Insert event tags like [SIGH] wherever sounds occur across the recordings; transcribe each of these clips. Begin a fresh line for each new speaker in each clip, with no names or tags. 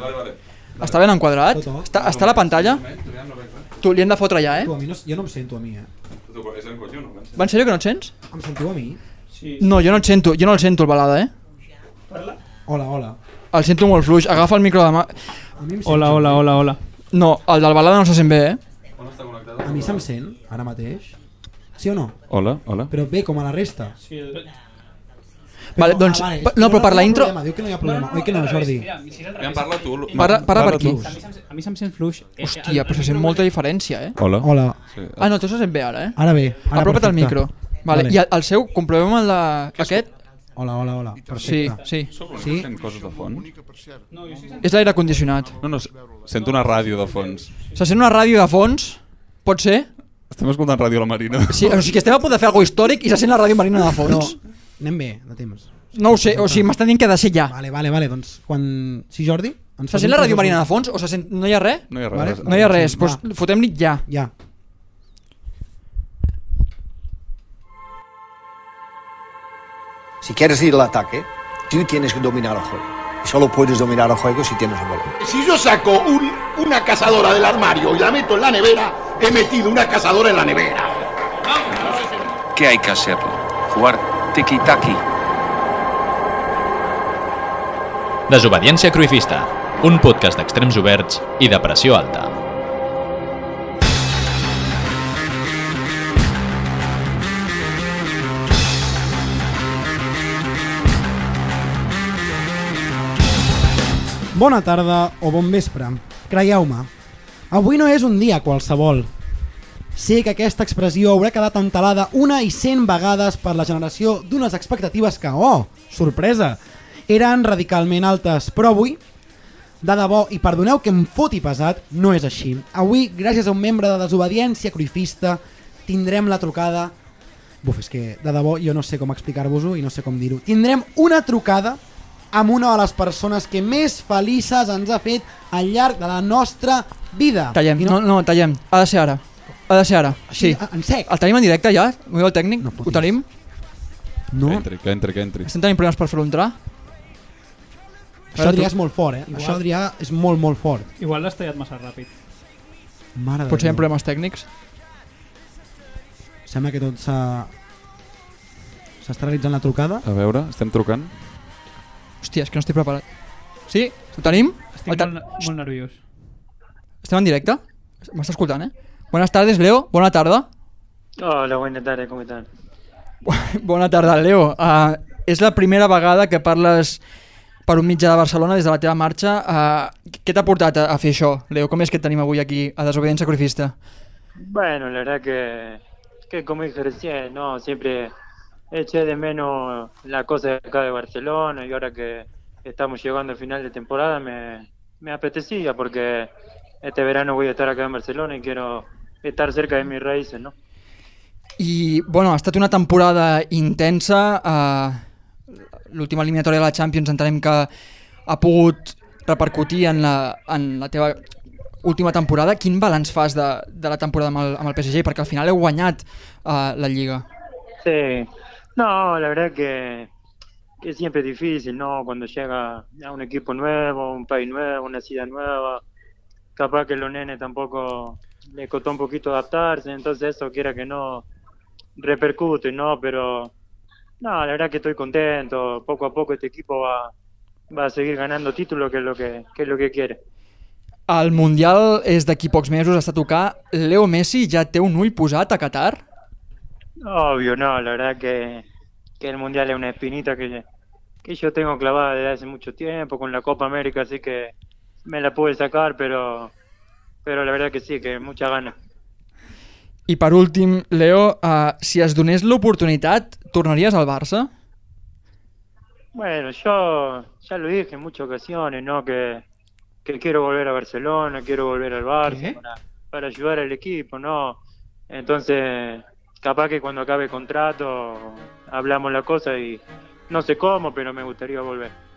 vale, vale.
Està ben enquadrat?
Tot, no?
Està, està a la pantalla?
Tu ja no veig res.
Tu, li hem de fotre allà,
Tu,
eh?
a mi no, jo no em sento a mi, eh?
Tu, és el colló, no?
Va, en sèrio que no et sents?
Em sentiu a mi?
Sí.
No, jo no et sento, jo no el sento el balada, eh?
Parla.
Hola, hola.
El sento molt fluix, agafa el micro de mà...
A mi em sento.
Hola, hola, hola, hola.
No, el del balada no se sent bé, eh?
On està connectat?
A mi se'm sent, ara mateix? Sí o no?
Hola, hola.
Però bé, com a la resta.
Sí, el...
Vale, doncs, pa- no, però per la intro...
Problema, diu que no hi ha problema. Oi que no, Jordi?
Mira, si és
Ja
al revés.
en parla tu. Lu-
Parla, parla per
tu.
aquí.
A mi se'm- A mi se'm sent fluix. Eh,
Hòstia,
el-
però se sent molta diferència, eh?
Hola.
Hola.
Sí.
Ah, no, tu se sent bé ara, eh?
Ara bé. Ara
Apropa't al
perfecte.
micro. Vale, i el, el seu, comprovem el de... aquest?
Hola, hola, hola.
Sí,
Perfecte.
sí.
Sóc l'únic
Sí?
que sent coses de fons.
No, jo sí que
És l'aire condicionat.
No, no, s- sento una ràdio de fons.
Se sent una ràdio de fons? Pot ser?
Estem escoltant ràdio a la Marina.
Sí, o sigui, estem a punt de fer alguna històric i se sent la ràdio marina de
No,
fons.
anem bé, de temps.
No ho sé, o sigui, m'estan dient que ha de ser ja.
Vale, vale, vale. Doncs quan... Sí, Jordi? Ens
Se
fas un
sent la ràdio
resum.
marina de fons o se sent... no hi ha res?
No hi ha res.
Vale.
res.
No hi ha res, doncs
Va.
fotem-li ja.
Ja.
Si quieres ir al ataque, tú tienes que dominar el juego. Y solo puedes dominar el juego si tienes el balón.
Si yo saco un- una cazadora del armario y la meto en la nevera, he metido una cazadora en la nevera.
¿Qué hay que hacerlo? Jugar tiki-taki.
Desobediència Cruifista, un podcast d'extrems oberts i de pressió alta.
Bona tarda o bon vespre. Creieu-me, avui no és un dia qualsevol. Sé que aquesta expressió haurà quedat entelada una i cent vegades per la generació d'unes expectatives que, oh, sorpresa, eren radicalment altes, però avui, de debò, i perdoneu que em foti pesat, no és així. Avui, gràcies a un membre de desobediència cruifista, tindrem la trucada... Buf, és que, de debò, jo no sé com explicar-vos-ho i no sé com dir-ho. Tindrem una trucada amb una de les persones que més felices ens ha fet al llarg de la nostra vida.
Tallem,
I
no, no, tallem. Ha de ser ara. Ha de ser ara, sí.
a- En sec.
El tenim en directe ja? Ho diu el tècnic?
No
Ho
fotis.
tenim?
No,
Que entri, que entri, que entri.
Estem tenint problemes per fer-ho entrar?
això Adrià és molt fort, eh? Igual. Això Adrià és molt, molt fort.
Igual l'has tallat massa ràpid.
Mare de
Potser hi ha
Déu.
problemes tècnics?
Sembla que tot s'ha... S'està realitzant la trucada.
A veure, estem trucant.
Hòstia, és que no estic preparat. Sí? Ho tenim?
Estic
El ta-
molt, ne- molt nerviós.
Estem en directe? M'està escoltant, eh? Buenas tardes, Leo. Bona tarda.
Hola, buenas tardes, ¿cómo están?
[LAUGHS] Bona tarda, Leo. Uh, és la primera vegada que parles per un mitjà de Barcelona des de la teva marxa. Uh, què t'ha portat a, a fer això, Leo? Com és que et tenim avui aquí a Desobediència Sacrifista?
Bueno, la verdad que, que como dije recién, ¿no? Siempre eché de menos la cosa de acá de Barcelona y ahora que estamos llegando al final de temporada me, me apetecía porque este verano voy a estar acá en Barcelona y quiero estar cerca de mis raíces, ¿no?
I, bueno, ha estat una temporada intensa. Uh, L'última eliminatòria de la Champions entenem que ha pogut repercutir en la, en la teva última temporada. Quin balanç fas de, de la temporada amb el, amb el PSG? Perquè al final heu guanyat uh, la Lliga.
Sí, no, la verdad que, que siempre es difícil, ¿no? Cuando llega a un equipo nuevo, un país nuevo, una ciudad nueva, capaz que los nenes tampoco les costó un poquito adaptarse, entonces eso quiera que no repercute, ¿no? Pero no, la verdad que estoy contento, poco a poco este equipo va, va a seguir ganando títulos, que es lo que, que es lo que quiere.
El Mundial és d'aquí pocs mesos, està a tocar. Leo Messi ja té un ull posat a Qatar?
Obvio, no, la verdad que, que el Mundial es una espinita que, que yo tengo clavada desde hace mucho tiempo con la Copa América, así que me la pude sacar, pero, pero la verdad que sí, que mucha ganas.
I per últim, Leo, uh, si es donés l'oportunitat, tornaries al Barça?
Bueno, yo ya lo dije en muchas ocasiones, ¿no? Que, que quiero volver a Barcelona, quiero volver al
¿Qué?
Barça para, para ayudar al equipo, ¿no? Entonces, capaz que cuando acabe el contrato hablamos la cosa y no sé cómo, pero me gustaría volver.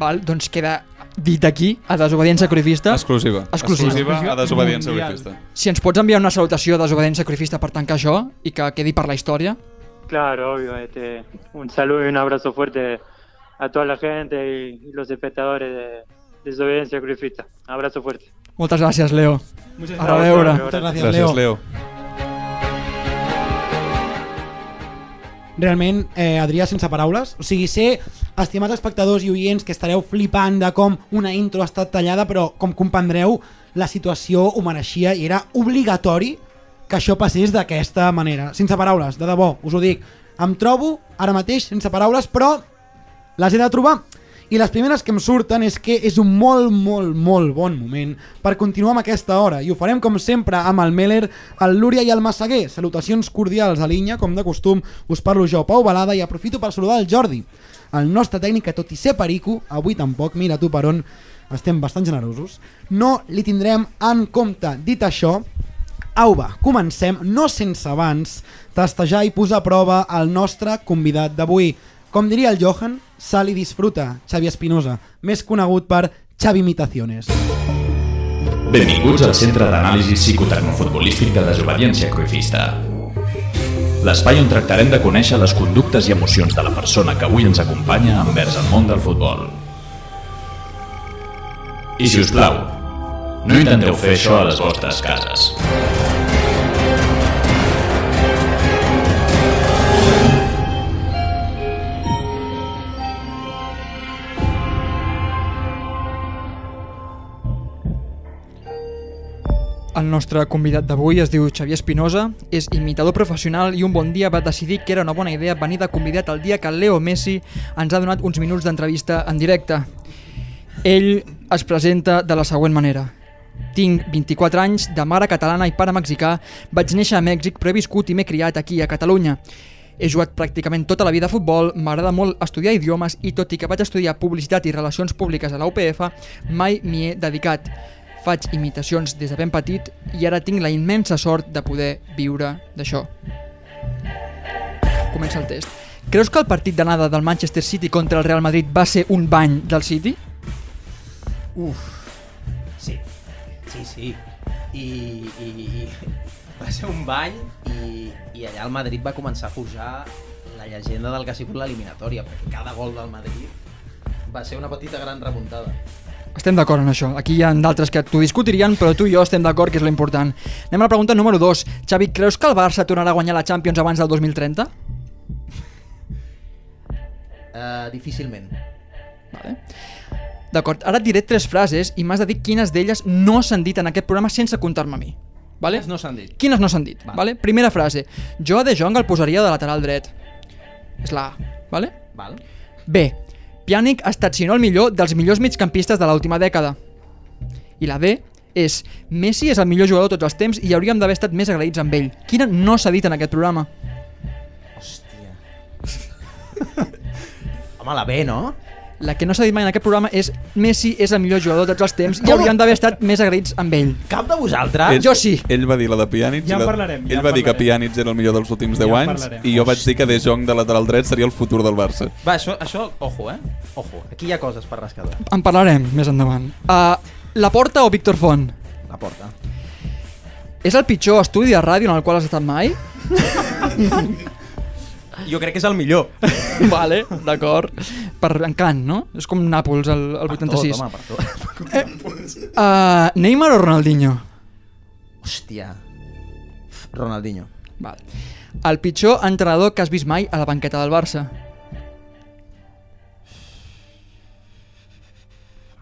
Val, doncs queda dit aquí, a Desobediència Sacrifista.
Exclusiva.
Exclusiva.
a Desobediència
Mundial.
Sacrifista.
Si ens pots enviar una salutació a Desobediència Sacrifista per tancar això i que quedi per la història.
Claro, obvio. Este, un saludo y un abrazo fuerte a toda la gente y, y los espectadores de, Desobediencia crucifista. Abrazo fuerte.
Moltes gràcies, Leo.
Muchas
A
gracias.
veure.
Muchas gracias,
Gràcies,
Leo.
Leo.
Realment, eh, Adrià, sense paraules. O sigui, sé, estimats espectadors i oients, que estareu flipant de com una intro ha estat tallada, però com comprendreu, la situació ho mereixia i era obligatori que això passés d'aquesta manera. Sense paraules, de debò, us ho dic. Em trobo ara mateix sense paraules, però les he de trobar. I les primeres que em surten és que és un molt, molt, molt bon moment per continuar amb aquesta hora. I ho farem, com sempre, amb el Meller, el Lúria i el Massaguer. Salutacions cordials a l'Inya, com de costum. Us parlo jo, Pau Balada, i aprofito per saludar el Jordi, el nostre tècnic que, tot i ser perico, avui tampoc, mira tu per on, estem bastant generosos, no li tindrem en compte. Dit això, Au va, comencem, no sense abans, tastejar i posar a prova el nostre convidat d'avui. Com diria el Johan, sal i disfruta, Xavi Espinosa, més conegut per Xavi Imitaciones.
Benvinguts al Centre d'Anàlisi Psicotecnofutbolístic de Desobediència Cruifista. L'espai on tractarem de conèixer les conductes i emocions de la persona que avui ens acompanya envers el món del futbol. I si us plau, no intenteu fer això a les vostres cases.
El nostre convidat d'avui es diu Xavier Espinosa, és imitador professional i un bon dia va decidir que era una bona idea venir de convidat el dia que Leo Messi ens ha donat uns minuts d'entrevista en directe. Ell es presenta de la següent manera. Tinc 24 anys, de mare catalana i pare mexicà, vaig néixer a Mèxic però he viscut i m'he criat aquí a Catalunya. He jugat pràcticament tota la vida a futbol, m'agrada molt estudiar idiomes i tot i que vaig estudiar publicitat i relacions públiques a la UPF, mai m'hi he dedicat. Faig imitacions des de ben petit i ara tinc la immensa sort de poder viure d'això. Comença el test. Creus que el partit d'anada del Manchester City contra el Real Madrid va ser un bany del City?
Sí, sí, sí. I, i, i va ser un bany i, i allà el Madrid va començar a forjar la llegenda del que ha sigut l'eliminatòria, perquè cada gol del Madrid va ser una petita gran remuntada.
Estem d'acord en això. Aquí hi ha d'altres que t'ho discutirien, però tu i jo estem d'acord que és l'important. Anem a la pregunta número 2. Xavi, creus que el Barça tornarà a guanyar la Champions abans del 2030?
Uh, difícilment.
Vale. D'acord, ara et diré tres frases i m'has de dir quines d'elles no s'han dit en aquest programa sense comptar-me a mi. Vale?
Quines no s'han dit?
Quines no s'han dit, vale.
Vale.
vale? Primera frase. Jo a De Jong el posaria de lateral dret. És la A, vale?
Val?
B. Pjanic ha estat, si no el millor, dels millors migcampistes de l'última dècada. I la D és Messi és el millor jugador de tots els temps i hauríem d'haver estat més agraïts amb ell. Quina no s'ha dit en aquest programa?
Hòstia. Home, la B, no?
La que no s'ha dit mai en aquest programa és Messi és el millor jugador de tots els temps i hauríem d'haver estat més agraïts amb ell.
Cap de vosaltres?
Eh, jo sí.
Ell va dir la de Pjanic.
Ja en
i la-
parlarem, ja
ell
en
va dir que
parlarem.
Pjanic era el millor dels últims 10
Ja en
anys
parlarem.
i jo vaig dir que De Jong de lateral dret seria el futur del Barça.
Va, això, això, ojo, eh? Ojo, aquí hi ha coses per rescatar.
En parlarem més endavant. Uh, la Porta o Víctor Font?
La porta.
És el pitjor estudi de ràdio en el qual has estat mai?
Jo crec que és el millor.
[LAUGHS] vale, d'acord. Per encant, no? És com Nàpols, el, el 86.
Per tot, home, per tot.
uh, Neymar o Ronaldinho?
Hòstia. Ronaldinho.
Val. El pitjor entrenador que has vist mai a la banqueta del Barça.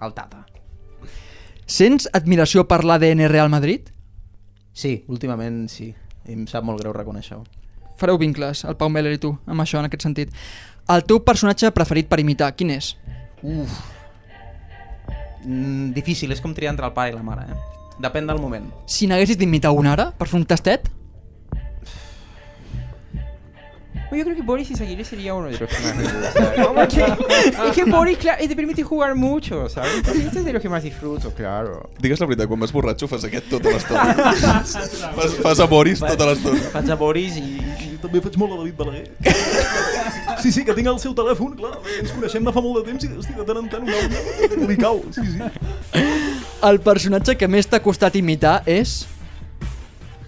El Tata.
Sents admiració per l'ADN Real Madrid?
Sí, últimament sí. I em sap molt greu reconèixer-ho.
Fareu vincles, el Pau Meller i tu, amb això, en aquest sentit. El teu personatge preferit per imitar, quin és?
Uf. Mm, difícil, és com triar entre el pare i la mare, eh? Depèn del moment.
Si n'haguessis d'imitar un ara, per fer un tastet?
Yo creo que Boris Izaguirre sería uno de
[LAUGHS]
los que más me gusta. ¿no? Porque es que Boris claro, te permite jugar mucho, ¿sabes? Entonces, este es de los que más disfruto, claro.
Digues la veritat, quan vas borratxo fas aquest tota l'estona.
[LAUGHS]
fas, fas a Boris tota l'estona.
Faig a Boris i...
I també faig molt a David Balaguer. Sí, sí, que tinc el seu telèfon, clar. Ens coneixem de fa molt de temps i, hosti, de tant en tant un àudio li cau. Sí, sí.
El personatge que més t'ha costat imitar és...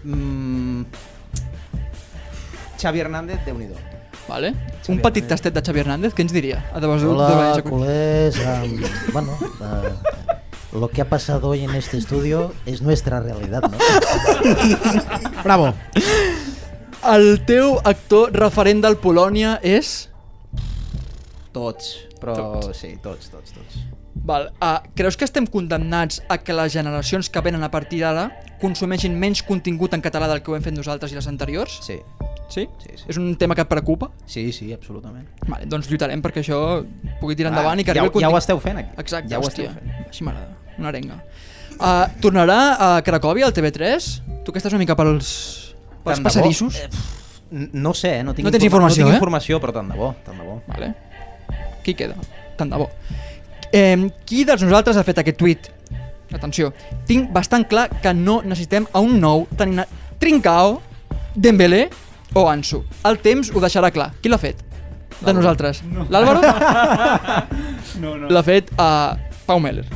Mm, Xavi Hernández, déu nhi
Vale. Un petit tastet de Xavi Hernández, què ens diria? A de vos,
Hola, col·les. Um, bueno, eh,
lo que ha pasado hoy en este estudio es nuestra realidad, ¿no?
Bravo.
El teu actor referent del Polònia és...
Tots, però
Tots.
sí, tots, tots, tots.
Val, uh, creus que estem condemnats a que les generacions que venen a partir d'ara consumeixin menys contingut en català del que ho hem fet nosaltres i les anteriors?
Sí.
Sí? sí, sí. És un tema que et preocupa?
Sí, sí, absolutament.
Vale, doncs lluitarem perquè això pugui tirar
Ah,
endavant i que
ja
arribi el
ho- ja ho
contingut.
esteu fent, aquí.
Exacte,
Ja ho
hòstia.
esteu
Així m'agrada, una arenga. Uh, tornarà a Cracòvia, al TV3? Tu que estàs una mica pels,
Tant
pels
de bo.
passadissos?
Eh, pf, n- no sé, eh, no tinc
No tens
informa-
informació,
no tinc
eh?
informació, però tant de bo, tant de bo.
Vale. Qui queda? Tant de bo. Eh, qui dels nosaltres ha fet aquest tuit? Atenció, tinc bastant clar que no necessitem a un nou tenint a Trincao, Dembélé o Ansu. El temps ho deixarà clar. Qui l'ha fet? De nosaltres.
No.
L'Àlvaro?
No, no.
L'ha fet a Pau Meller.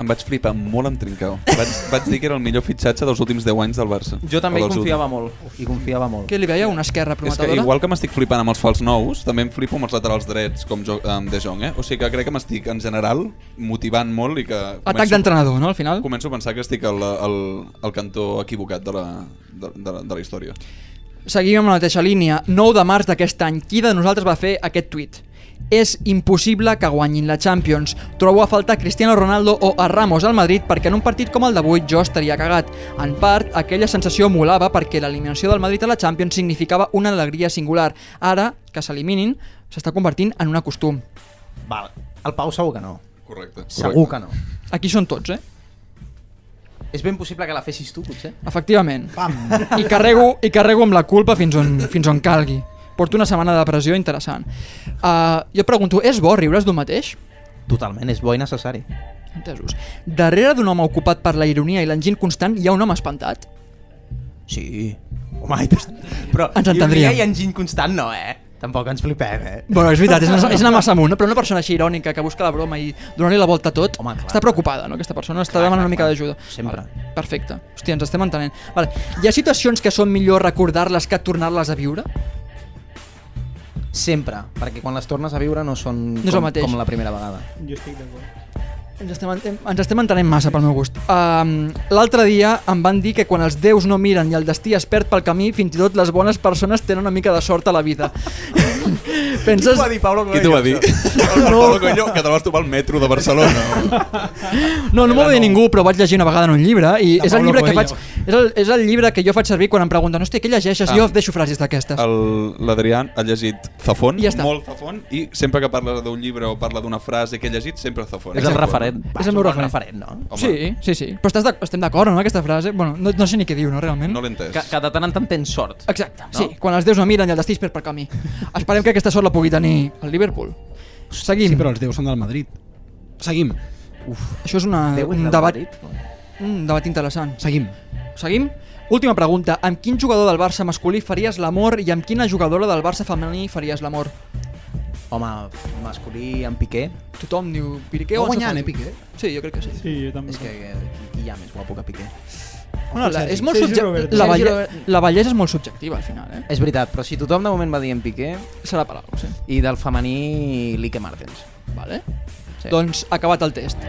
Em vaig flipar molt amb Trincao. Vaig, vaig dir que era el millor fitxatge dels últims 10 anys del Barça.
Jo també
O
hi
dels
confiava
últims.
molt, hi confiava molt.
Què li veia? Una esquerra
És que
prometedora?
igual que m'estic flipant amb els fals nous, també em flipo amb els laterals drets, com jo, amb De Jong, eh? O sigui que crec que m'estic, en general, motivant molt i que...
Atac d'entrenador, no, al final?
Començo a pensar que estic al, al, al cantó equivocat de la, de, de, la, de la història.
Seguim amb la mateixa línia. 9 de març d'aquest any, qui de nosaltres va fer aquest tuit? És impossible que guanyin la Champions. Trobo a faltar Cristiano Ronaldo o a Ramos al Madrid perquè en un partit com el d'avui jo estaria cagat. En part, aquella sensació molava perquè l'eliminació del Madrid a la Champions significava una alegria singular. Ara, que s'eliminin, s'està convertint en un acostum.
Val. El Pau segur que no.
Correcte.
Segur que no.
Aquí són tots, eh?
És ben possible que la fessis tu, potser?
Efectivament. Pam. I carrego, I carrego amb la culpa fins on, fins on calgui. Porto una setmana de depressió interessant. Uh, jo pregunto, és bo riure's d'un mateix?
Totalment, és bo i necessari.
Entesos. Darrere d'un home ocupat per la ironia i l'enginy constant hi ha un home espantat?
Sí. Home, i tant. Però
Ens entendríem.
ironia I enginy constant no, eh? Tampoc ens flipem, eh?
Bueno, és veritat, és anar, és anar massa amunt, no? però una persona així irònica que busca la broma i donar-li la volta a tot, Home, està preocupada, no? Aquesta persona està demanant una mica d'ajuda.
Sempre.
Vale, perfecte. Hòstia, ens estem entenent. Vale. Hi ha situacions que són millor recordar-les que tornar-les a viure?
Sempre, perquè quan les tornes a viure no són
No és el
com,
mateix.
com la primera vegada.
Jo estic d'acord.
Ens estem, en- ens estem entenent massa, pel meu gust. Um, L'altre dia em van dir que quan els déus no miren i el destí es perd pel camí, fins i tot les bones persones tenen una mica de sort a la vida. Penses...
Qui t'ho va dir, Pablo
Qui t'ho va dir? [LAUGHS] Pablo Coelho, que te vas trobar al metro de Barcelona.
No, no m'ho va dir ningú, però vaig llegir una vegada en un llibre i
De
és el
Paulo
llibre que faig,
Coelho.
és el, és el llibre que jo faig servir quan em pregunten hòstia, què llegeixes?
Ah.
Jo deixo frases d'aquestes.
El- L'Adrià ha llegit Zafón,
I ja està.
molt Zafón, i sempre que parla d'un llibre o parla d'una frase que ha llegit, sempre Zafón.
És el referent.
És el meu referent.
Home.
Sí, sí, sí. Però estàs d'ac- estem d'acord, no, amb aquesta frase? Bueno, no, no sé ni què diu, no, realment?
No l'he entès.
Que, que de tant en tant tens sort.
Exacte, no? sí. Quan els déus no miren i el destí es perd per camí. Esperem que aquesta sort la pugui tenir el Liverpool. Seguim.
Sí, però els déus són del Madrid. Seguim.
Uf. Això és una, un debat un debat interessant.
Seguim.
Seguim? Última pregunta. Amb quin jugador del Barça masculí faries l'amor i amb quina jugadora del Barça femení faries l'amor?
Home, masculí en Piqué.
Tothom diu Piqué
Va
o Ansu
guanyant,
Fati.
eh, Piqué?
Sí, jo crec que sí.
Sí, jo també.
És que eh, qui, qui hi ha més guapo que Piqué?
Bueno, la, és molt subje...
subjectiu.
la, belle... la bellesa és molt subjectiva, al final, eh?
És veritat, però si tothom de moment va dir en Piqué...
Serà per alguna sí.
I del femení, Lique Martens.
Vale.
Sí.
Doncs acabat el test.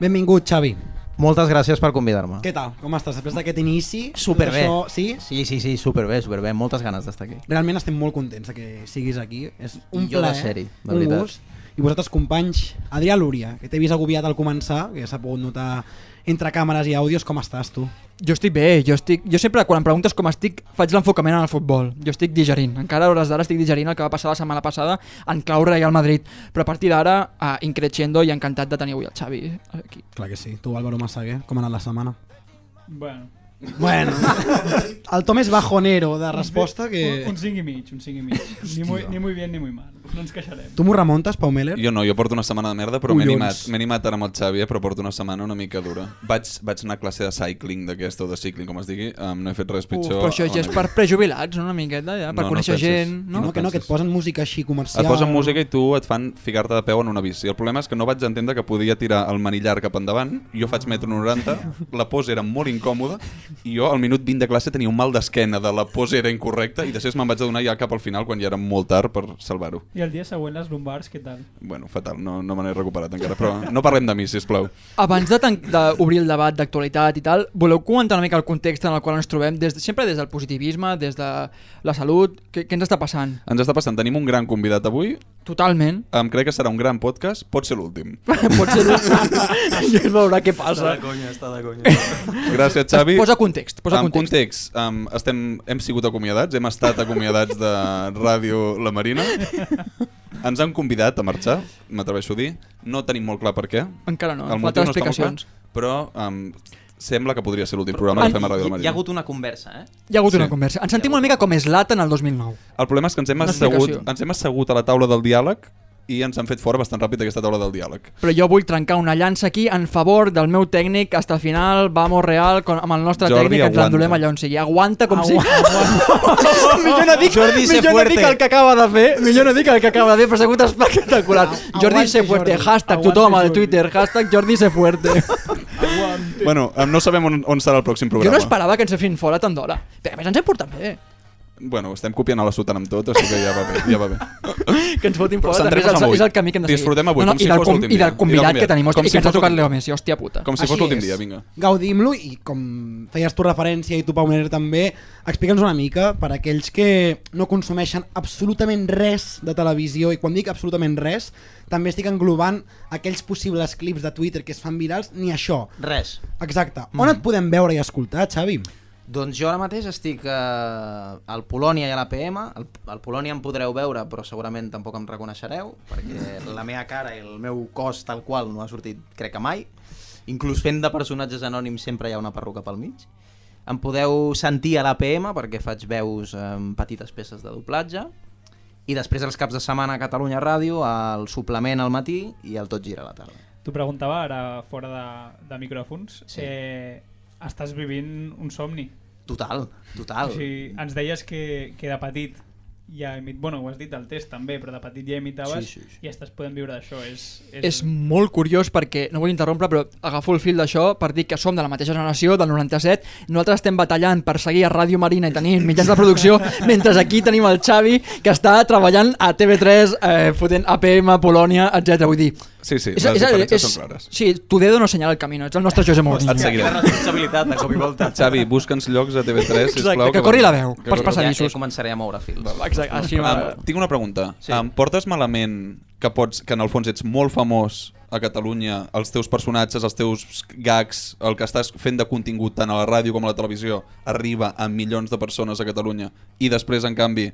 Benvingut, Xavi.
Moltes gràcies per convidar-me.
Què tal? Com estàs? Després d'aquest inici... tot
Superbé.
Això, sí?
Sí, sí, sí, superbé, superbé. Moltes ganes d'estar aquí.
Realment estem molt contents de que siguis aquí. És un
I jo de
plaer,
ser-hi, de
un
veritat.
gust. I vosaltres, companys, Adrià Lúria, que t'he vist agobiat al començar, que ja s'ha pogut notar entre càmeres i àudios, com estàs tu?
Jo estic bé, jo estic... Jo sempre, quan em preguntes com estic, faig l'enfocament en el futbol. Jo estic digerint. Encara a hores d'ara estic digerint el que va passar la setmana passada en Claure i al Madrid. Però a partir d'ara, uh, increixendo i encantat de tenir avui el Xavi aquí.
Clar que sí. Tu, Álvaro Massaguer, com ha anat la
[LAUGHS]
setmana?
Bueno.
Bueno, el Tom és bajonero de resposta que...
Un, un 5 i mig, un 5 i mig. Ni muy, ni muy bien ni muy mal. No ens queixarem.
Tu m'ho remuntes, Pau Meller?
Jo no, jo porto una setmana de merda, però m'he
Collons.
animat, m'he animat ara amb el Xavi, eh, però porto una setmana una mica dura. Vaig, vaig anar a classe de cycling d'aquesta, o de cycling, com es digui, um, no he fet res pitjor.
però això
a la
ja és
meva
per prejubilats, no? una miqueta, ja, per
No, no
conèixer
pensis.
gent. No?
No, que no, que et posen música així comercial.
Et posen música i tu et fan ficar-te de peu en una bici. El problema és que no vaig entendre que podia tirar el manillar cap endavant, jo faig metro 90, la pose era molt incòmoda, I jo al minut 20 de classe tenia un mal d'esquena de la pose era incorrecta i després me'n vaig adonar ja cap al final quan ja era molt tard per salvar-ho.
I el dia següent les lumbars, què tal?
Bueno, fatal, no, no me n'he recuperat encara, però no parlem de mi, sisplau.
Abans de tan- d'obrir el debat d'actualitat i tal, voleu comentar una mica el context en el qual ens trobem, des de, sempre des del positivisme, des de la salut, què, què ens està passant?
Ens està passant, tenim un gran convidat avui.
Totalment. [LAUGHS]
Em crec que serà un gran podcast, pot ser l'últim. [LAUGHS]
Pot ser I es veurà què passa.
Està de conya, està de conya.
Gràcies, Xavi.
Es posa context, posa
en context. Um, estem, hem sigut acomiadats, hem estat acomiadats de Ràdio La Marina. Ens han convidat a marxar, m'atreveixo a dir. No tenim molt clar per què.
Encara no,
El
falten
motiu no està molt
explicacions.
clar, però um, sembla que podria ser l'últim programa que fem a Ràdio La
Hi, hi ha
Marina.
hagut una conversa, eh?
Hi ha hagut sí. una conversa. Ens sentim una mica com Slatan el 2009.
El problema és que ens hem,
Una
assegut,
explicació.
ens hem assegut a la taula del diàleg i ens han fet fora bastant ràpid aquesta taula del diàleg.
Però jo vull trencar una llança aquí en favor del meu tècnic hasta el final, vamos real, con, amb el nostre
Jordi,
tècnic, ens
aguanta.
l'endolem allà on sigui. Aguanta com sigui. [LAUGHS]
millor
no dic,
Jordi, sé
millor no
fuerte.
dic el que acaba de fer, millor no dic el que acaba de fer, però s'ha hagut espectacular. Jordi se fuerte, hashtag tothom al Twitter, hashtag Jordi se fuerte.
Bueno, em, no sabem on, on serà el pròxim
Jo
programa.
no esperava que ens fessin fora tant d'hora. Però a més ens hem portat bé.
Bueno, estem copiant a la sotana amb tot, o sigui que ja va bé. Ja va bé.
que ens fotin
Però
fora també
centrem-nos
és,
en
el,
avui.
és el camí que hem de seguir.
Disfrutem avui,
no, no,
com si
i del
fos
com-
l'últim
I
dia.
del convidat que tenim,
Com
hòstia,
si
i que ens
fos
ha tocat
l'últim-
Leo Messi, hòstia puta.
Com si fos l'últim dia, vinga.
Gaudim-lo i com feies tu referència i tu, Pau Moner, també, explica'ns una mica per aquells que no consumeixen absolutament res de televisió i quan dic absolutament res, també estic englobant aquells possibles clips de Twitter que es fan virals, ni això.
Res.
Exacte. On
Mm.
et podem veure i escoltar, Xavi?
Doncs jo ara mateix estic eh, al Polònia i a l'APM. Al, al Polònia em podreu veure, però segurament tampoc em reconeixereu, perquè la meva cara i el meu cos tal qual no ha sortit crec que mai. Inclús fent de personatges anònims sempre hi ha una perruca pel mig. Em podeu sentir a l'APM perquè faig veus en petites peces de doblatge. I després els caps de setmana a Catalunya Ràdio, al suplement al matí i al Tot Gira a la tarda.
T'ho preguntava ara fora de, de micròfons. Sí. Eh, estàs vivint un somni.
Total, total.
O sigui, ens deies que, que de petit ja imit... Bueno, ho has dit del test també, però de petit ja imitaves
Sí, sí,
i estàs podent viure d'això. És, és...
És molt curiós perquè, no vull interrompre, però agafo el fil d'això per dir que som de la mateixa generació, del 97. Nosaltres estem batallant per seguir a Ràdio Marina i tenir mitjans de producció, [LAUGHS] mentre aquí tenim el Xavi, que està treballant a TV3, eh, fotent APM, Polònia, etc. Vull dir...
Sí, sí, les diferències són clares.
Sí, tu dedo no senyala el camí, no? Ets el nostre José Mourinho.
Et seguiré.
responsabilitat, de cop i volta.
Xavi, busca'ns llocs a TV3,
Exacte,
sisplau.
que corri la veu, pels
corri-
passadissos.
Ja, ja començaré a moure fils.
Exacte, així
Ah,
m'agrada.
Em- tinc una pregunta. Sí. Em portes malament que pots que en el fons ets molt famós a Catalunya, els teus personatges, els teus gags, el que estàs fent de contingut tant a la ràdio com a la televisió, arriba a milions de persones a Catalunya i després, en canvi,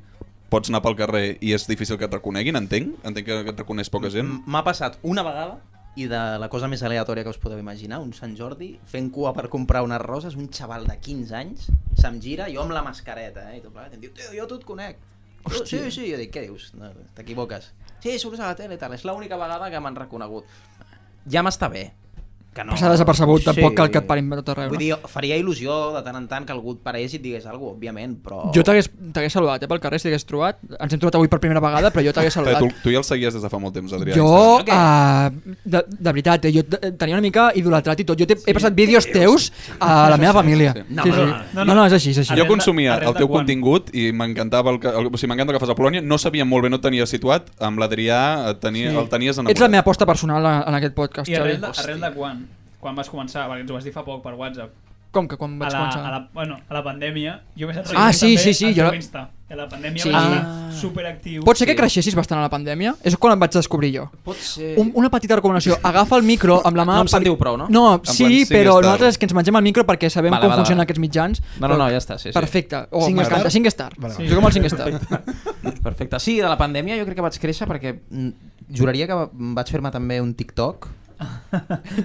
pots anar pel carrer i és difícil que et reconeguin, entenc? Entenc que et reconeix poca
Mm,
gent.
Eh, M'ha passat una vegada i de la cosa més aleatòria que us podeu imaginar, un Sant Jordi fent cua per comprar unes roses, un xaval de 15 anys se'm gira, jo amb la mascareta, eh, i tot plegat, em diu, tio, jo tu et conec. Jo, Sí,
Hòstia.
sí, jo dic, què dius? No, no, T'equivoques. Sí, surts a la tele i tal, és l'única vegada que m'han reconegut. Ja m'està bé. Que no.
Passar desapercebut, tampoc cal que et parin per tot arreu,
Vull
no?
dir, faria il·lusió de tant en tant que algú et parés i et digués alguna cosa, òbviament, però...
Jo t'hagués t'hagués saludat, eh, pel carrer, si t'hagués trobat. Ens hem trobat avui per primera vegada, però jo t'hagués saludat.
Eh, Tu, tu ja el seguies des de fa molt temps, Adrià.
Jo, uh, de, de veritat, eh, jo t- eh, tenia una mica idolatrat i tot. Jo t'he he passat vídeos teus a la meva família.
Sí.
Sí, sí. No, no, és així, és així.
Jo consumia el teu contingut i m'encantava el, que- el, o sigui, m'encanta el que fas a Polònia. No sabia molt bé, no et tenia situat. Amb l'Adrià et tenia, sí. el tenies enamorat.
Ets la meva aposta personal a- en aquest podcast,
I arrel de,
Xavi.
arrel de quan? Quan vas començar? Perquè ens ho vas dir fa poc per WhatsApp.
Com que quan vaig
a la,
començar?
A la, bueno, a la pandèmia, jo vaig
Ah, sí,
també
sí, sí,
al
jo
teu
la-
Insta. I a la pandèmia
Sí.
sí. vaig
Ah.
estar superactiu.
Pot ser que creixessis bastant a la pandèmia? És quan em vaig descobrir jo.
Pot ser...
Un, una petita recomanació. Agafa el micro amb la mà...
No em sentiu prou, no?
No,
En plan,
sí,
cinc
però
star.
nosaltres és que ens mengem el micro perquè sabem
Vale,
com
vale,
funcionen
vale.
aquests mitjans.
No, no,
però-
no, ja està, sí, sí.
Perfecte. Oh,
Cinc
m'encanta.
star?
5 star.
Vale, vale.
Jo com el 5 star.
Perfecte. Sí, de la pandèmia jo crec que vaig créixer perquè mm, juraria que va- vaig fer-me també un TikTok.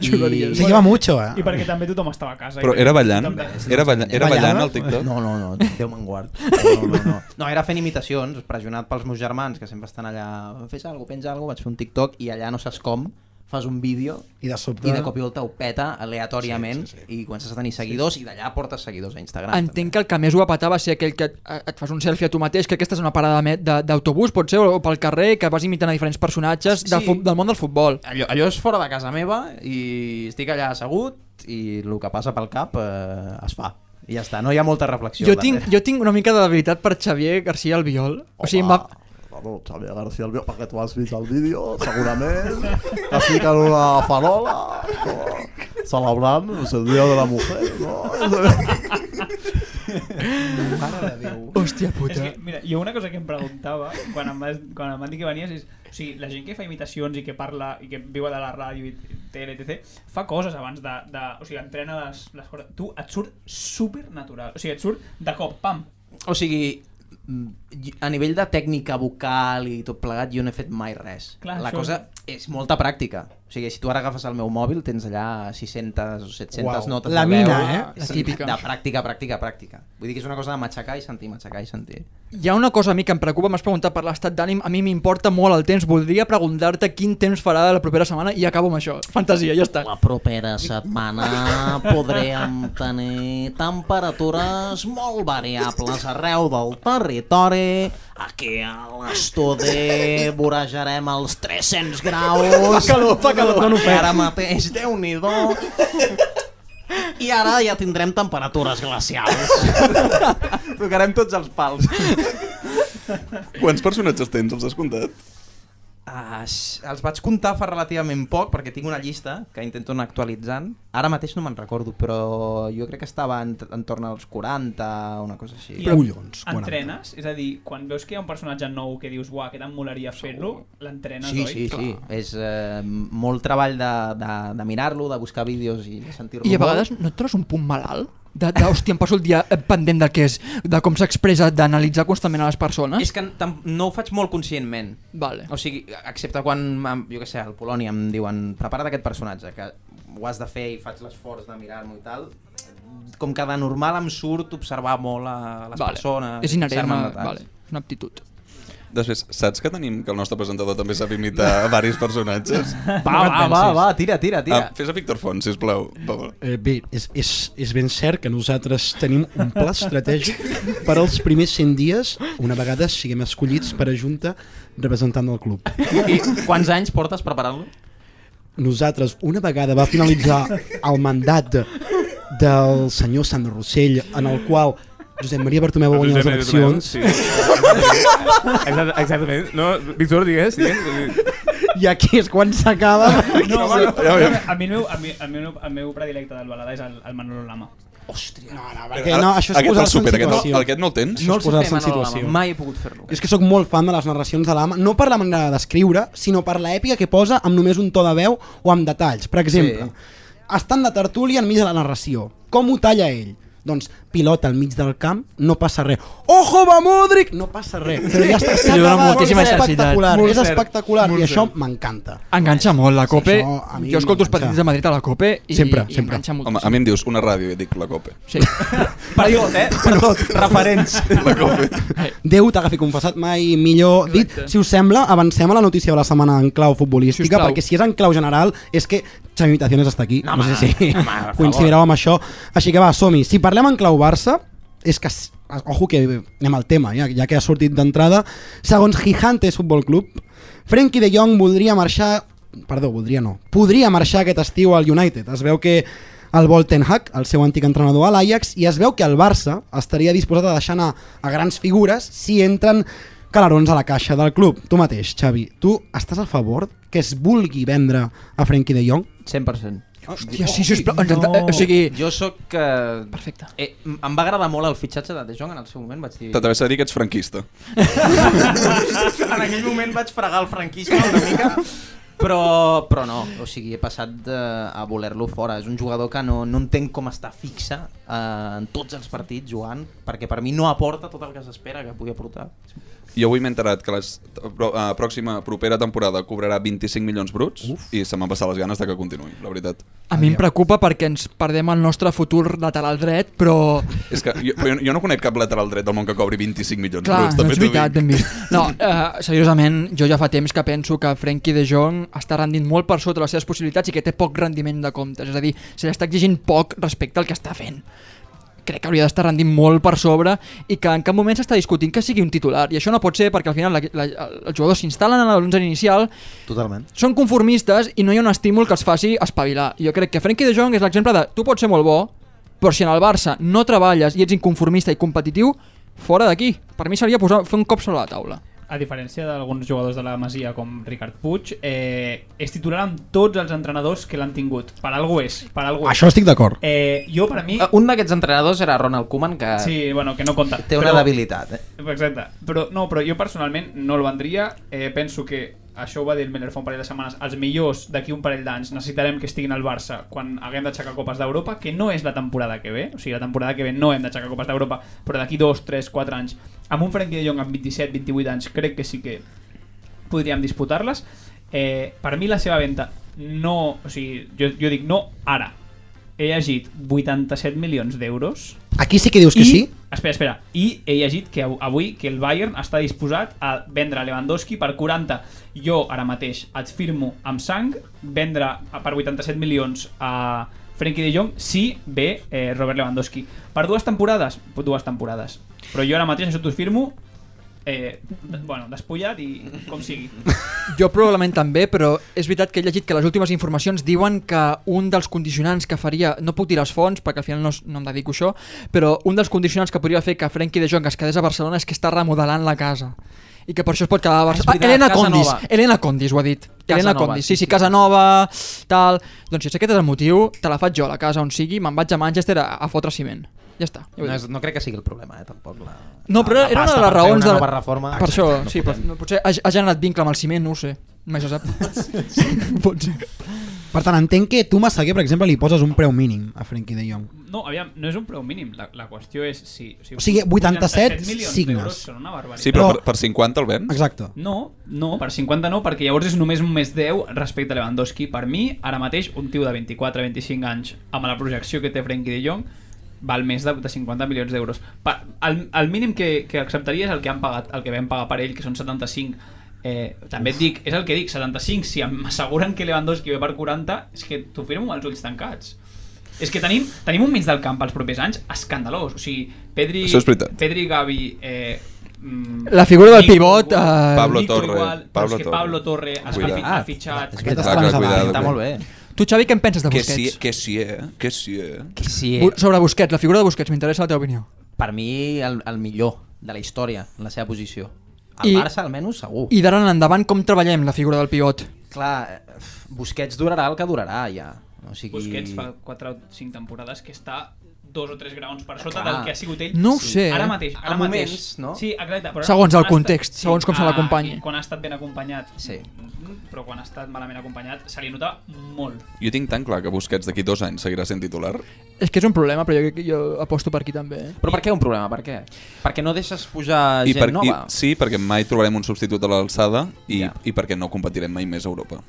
Juraries. Se lleva mucho, eh?
I perquè també tothom estava a casa.
Però
I-
era ballant?
tothom deia,
Era ballant- era ballant el TikTok?
No, no, no, Déu me'n guard. No, no, no. no, era fent imitacions, pressionat pels meus germans, que sempre estan allà, fes alguna penja alguna vaig fer un TikTok i allà no saps com, fas un vídeo
I de sobte-
i de cop i volta ho peta aleatòriament sí, sí, sí. i comences a tenir seguidors sí, sí. i d'allà portes seguidors a Instagram.
Entenc que el que més ho va patar va ser aquell que et, et fas un selfie a tu mateix, que aquesta és una parada me- de- d'autobús, pot ser, o pel carrer, que vas imitant a diferents personatges de
Sí.
fu- del món del futbol.
Allò, allò és fora de casa meva i estic allà assegut i el que passa pel cap eh, es fa. I ja està, no hi ha molta reflexió.
Jo tinc, jo tinc una mica de debilitat per Xavier García Albiol. O sigui, em va...
Ah, Bueno, Xavier García Albiol, perquè tu has vist el vídeo, segurament, que fiquen una farola, no? celebrant no sé, el Dia de la Mujer, no?
Mare de Déu.
Hòstia puta.
És que, mira, jo una cosa que em preguntava quan em, vas, quan em van dir que venies és... O sigui, la gent que fa imitacions i que parla i que viu de la ràdio i tele, etc. Fa coses abans de... de o sigui, entrena les, les coses. Tu et surt supernatural. O sigui, et surt de cop, pam.
O sigui, mm, a nivell de tècnica vocal i tot plegat, jo no he fet mai res.
Clar,
la
això-
cosa és molta pràctica. O sigui, si tu ara agafes el meu mòbil, tens allà 600 o 700
Uau.
notes
La
de
mina,
veu.
eh? La
Sí,
típica.
De pràctica, pràctica, pràctica. Vull dir que és una cosa de matxacar i sentir, matxacar i sentir.
Hi ha una cosa a mi que em preocupa, m'has preguntat per l'estat d'ànim, a mi m'importa molt el temps, voldria preguntar-te quin temps farà la propera setmana i acabo amb això. Fantasia, ja està.
La propera setmana podrem tenir temperatures molt variables arreu del territori. Aquí a l'estudi vorejarem els 300 graus.
Fa calor, fa calor.
Perquè
No, no, no.
Ara mateix, déu nhi I ara ja tindrem temperatures glacials.
Tocarem tots els pals.
Quants personatges tens? Els has comptat?
Ah, els vaig comptar fa relativament poc perquè tinc una llista que intento anar actualitzant. Ara mateix no me'n recordo, però jo crec que estava en, en torn als 40, una cosa així.
I Entrenes? És a dir, quan veus que hi ha un personatge nou que dius, uah, aquest em molaria fer-lo, l'entrenes,
Sí,
oi?
sí, sí. És eh, molt treball de, de, de mirar-lo, de buscar vídeos i de sentir-lo.
I a
molt.
vegades no et trobes un punt malalt? De, de, hòstia, em passo el dia eh, pendent del que és, de com s'expressa, d'analitzar constantment a les persones.
És que tam- no ho faig molt conscientment.
Vale.
O sigui, excepte quan, em- jo que sé, al Polònia em diuen prepara't aquest personatge, que ho has de fer i faig l'esforç de mirar-m'ho i tal. Com que de normal em surt observar molt a les
Vale.
persones.
És inherent
fixar-me en
a-
detalls.
vale. És una aptitud.
Després, saps que tenim que el nostre presentador també sap imitar varis
[LAUGHS]
personatges?
Va, va, va, va, tira, tira, tira.
Ah, fes a Víctor Font, sisplau. Pablo.
Eh, bé, és, és, és ben cert que nosaltres tenim un
[LAUGHS]
pla estratègic per als primers 100 dies, una vegada siguem escollits per a Junta representant del club.
I quants anys portes preparant-lo?
Nosaltres, una vegada va finalitzar el mandat de, del senyor Sandro Rossell, en el qual Josep Maria Bartomeu va guanyar les eleccions,
Sí. Exacte- Exactament. No, Víctor, digues, digues.
i aquí és quan s'acaba.
No, va,
perquè-
a mi el meu, a mi, el meu, el meu predilecte del balada és el, el Manolo Lama.
Hòstia,
no,
no, perquè no, això és
Aquest te'l
posar-se en
supera, aquest no-
situació.
aquest no el tens?
Això
No el
és
sé
posar-se
fer,
en
Manolo Lama,
situació.
mai he pogut fer-lo.
Jo és que sóc molt fan de les narracions de l'ama, no per la manera d'escriure, sinó per l'èpica que posa amb només un to de veu o amb detalls. Per exemple, sí. estan de tertúlia enmig de la narració. Com ho talla ell? Doncs pilota al mig del camp, no passa res. Ojo va Modric! No passa res. Però ja està, s'ha
Li dona
acabat.
moltíssima
és
intensitat.
espectacular,
Molt
és
cert,
espectacular
molt
i això
cert.
m'encanta.
Enganxa molt, la COPE.
això a mi
Jo escolto els
m'enganxa.
partits de Madrid a la COPE i,
Sempre,
i
sempre.
enganxa molt.
Home, a mi em dius una ràdio i et dic la
[LAUGHS]
copa.
Sí.
Per tot, eh? Per tot. Referents.
La copa.
Déu t'agafi confessat mai millor dit. Si us sembla, avancem a la notícia de la setmana en clau futbolística,
Sisplau.
perquè si és en clau general és que Xavi Imitaciones està aquí. No, no sé si
home, per favor.
coincidireu amb això. Així que va, som-hi. Si parlem en clau Barça, és que, s- ojo que anem al tema, ja, ja que ha sortit d'entrada. Segons Gigantes Futbol Club, Frenkie de Jong voldria marxar perdó, voldria no, podria marxar aquest estiu al United. Es veu que el vol Ten Hag, el seu antic entrenador a l'Ajax, i es veu que el Barça estaria disposat a deixar anar a grans figures si entren calarons a la caixa del club. Tu mateix, Xavi, tu estàs a favor que es vulgui vendre a Frenkie de Jong?
100%.
Hòstia, sí, sisplau, ens enta- eh, o
sigui-
Jo sóc que... Perfecte. Eh, m- em va agradar molt el fitxatge de De Jong en el seu moment, vaig dir...
T'atreveixo a dir que ets franquista.
[LAUGHS] en aquell moment vaig fregar el franquisme una mica, però, però no, o sigui, he passat de, a voler-lo fora. És un jugador que no, no entenc com està fixa eh, en tots els partits jugant, perquè per mi no aporta tot el que s'espera que pugui aportar.
Jo avui m'he enterat que la uh, pròxima propera temporada cobrarà 25 milions bruts Uf. i se m'han passat les ganes de que continuï, la veritat.
A mi em preocupa perquè ens perdem el nostre futur lateral dret, però...
És que jo, però jo, jo no conec cap lateral dret del món que cobri 25 milions
Clar,
bruts,
no
també
és
t'ho
veritat,
[LAUGHS]
ben vist. No, eh, seriosament, jo ja fa temps que penso que Frenkie de Jong està rendint molt per sota les seves possibilitats i que té poc rendiment de comptes. És a dir, se l'està exigint poc respecte al que està fent. Crec que hauria d'estar rendint molt per sobre i que en cap moment s'està discutint que sigui un titular. I això no pot ser perquè al final la, la, els jugadors s'instal·len en l'11 inicial
Totalment.
són conformistes i no hi ha un estímul que els faci espavilar. Jo crec que Frenkie de Jong és l'exemple de tu pots ser molt bo, Però si en el Barça no treballes i ets inconformista i competitiu, fora d'aquí. Per mi seria posar, fer un cop sobre la taula.
a diferència d'alguns jugadors de la Masia com Ricard Puig, eh, és titular amb tots els entrenadors que l'han tingut. Per algú és, per algú és.
Això estic d'acord.
Eh, jo, per mi...
Un d'aquests entrenadors era Ronald Koeman, que
Sí, bueno, que no compta.
té una
Però-
debilitat. Eh?
Exacte. Però, no, però jo personalment no el vendria. Eh, penso que això ho va dir el Miller fa un parell de setmanes. Els millors d'aquí un parell d'anys necessitarem que estiguin al Barça quan haguem d'aixecar copes d'Europa, que no és la temporada que ve. O sigui, la temporada que ve no hem d'aixecar copes d'Europa, però d'aquí 2, 3, 4 anys, amb un Frenkie de Jong amb 27, 28 anys, crec que sí que podríem disputar-les. Eh, per mi la seva venda no... O sigui, jo, jo dic no ara. He llegit 87 milions d'euros
Aquí sí que dius que
[LAUGHS] i,
sí?
Espera, espera. I he llegit que av- avui que el Bayern està disposat a vendre Lewandowski per 40. Jo ara mateix et firmo amb sang vendre a- per 87 milions a Frenkie de Jong si ve eh, Robert Lewandowski. Per dues temporades? Dues temporades. Però jo ara mateix això t'ho firmo eh, d- bueno, despullat i com sigui.
Jo probablement també, però és veritat que he llegit que les últimes informacions diuen que un dels condicionants que faria, no puc dir les fonts perquè al final no, es- no em dedico a això, però un dels condicionants que podria fer que Frenkie de Jong es quedés a Barcelona és que està remodelant la casa i que per això es pot quedar a Barcelona.
veritat,
ah, Elena
casa
Condis,
nova.
Elena Condis ho ha dit.
Casa
Elena
nova,
Condis, sí, sí, casa nova, tal... Doncs si aquest és el motiu, te la faig jo, la casa on sigui, me'n vaig a Manchester a, a fotre ciment. Ja està. Ja ho he
No,
dit.
és, no crec que sigui el problema, eh, tampoc. La,
No, però
la
era una
pasta
de les
per fer
raons...
Una
de...
nova reforma.
Per això,
no
sí, però,
podem.
no, potser ha, ha generat vincle amb el ciment, no ho sé. Mai se sap.
[LAUGHS]
Pot ser.
Per tant, entenc que tu, Massaguer, per exemple, li poses un preu mínim a Frenkie de Jong.
No, aviam, no és un preu mínim. La, la qüestió és si...
O sigui, 87
milions
signes.
d'euros Són una barbaritat.
Sí, però per, per 50 el ven?
Exacte.
No, no, per 50 no, perquè llavors és només un més 10 respecte a Lewandowski. Per mi, ara mateix, un tio de 24-25 anys, amb la projecció que té Frenkie de Jong, val més de, de 50 milions d'euros. Pa- El, el mínim que, que acceptaria és el que han pagat, el que vam pagar per ell, que són 75. Eh, també et dic, és el que dic, 75, si em asseguren que Lewandowski ve per 40, és que t'ho firmo amb els ulls tancats. És que tenim, tenim un mig del camp els propers anys escandalós. O sigui, Pedri,
Això és veritat.
Pedri Gavi... Eh, mm,
La figura del
Nico
pivot,
igual,
eh, Pablo
Nico
Torre,
igual, però
Pablo
és que
Torre.
Pablo Torre es
Cuidat.
ha fitxat.
Aquest està Clar, clar, més cuidat, avançat. molt bé.
Tu, Xavi, què en penses de
Que
Busquets?
sí, que sí, eh? Que sí, eh?
Que sí,
Bu- Sobre Busquets, la figura de Busquets, m'interessa la teva opinió.
per mi el, el millor de la història, en la seva posició. El
I-
I, Barça, almenys, segur.
I d'ara en endavant, com treballem la figura del pivot?
Clar, eh, Busquets durarà el que durarà, ja. O sigui...
Busquets fa 4 o 5 temporades que està dos o tres graons per sota
Clar.
del que ha sigut ell.
No ho sé. eh?
Ara mateix. Ara
A
mateix.
moments, no?
Sí, exacte. Però
Segons el
quan ha
context, segons com se
ah,
l'acompanyi.
i Quan ha estat ben acompanyat. Mm,
Sí.
Però quan ha estat malament acompanyat se li nota molt.
Jo tinc tan clar que Busquets d'aquí dos anys seguirà sent titular.
És que és un problema, però jo, crec que jo aposto per aquí també. Eh?
Però per què un problema? Per què? Perquè no deixes pujar gent
per,
nova.
I, sí, perquè mai trobarem un substitut a l'alçada i, yeah. i perquè no competirem mai més a Europa.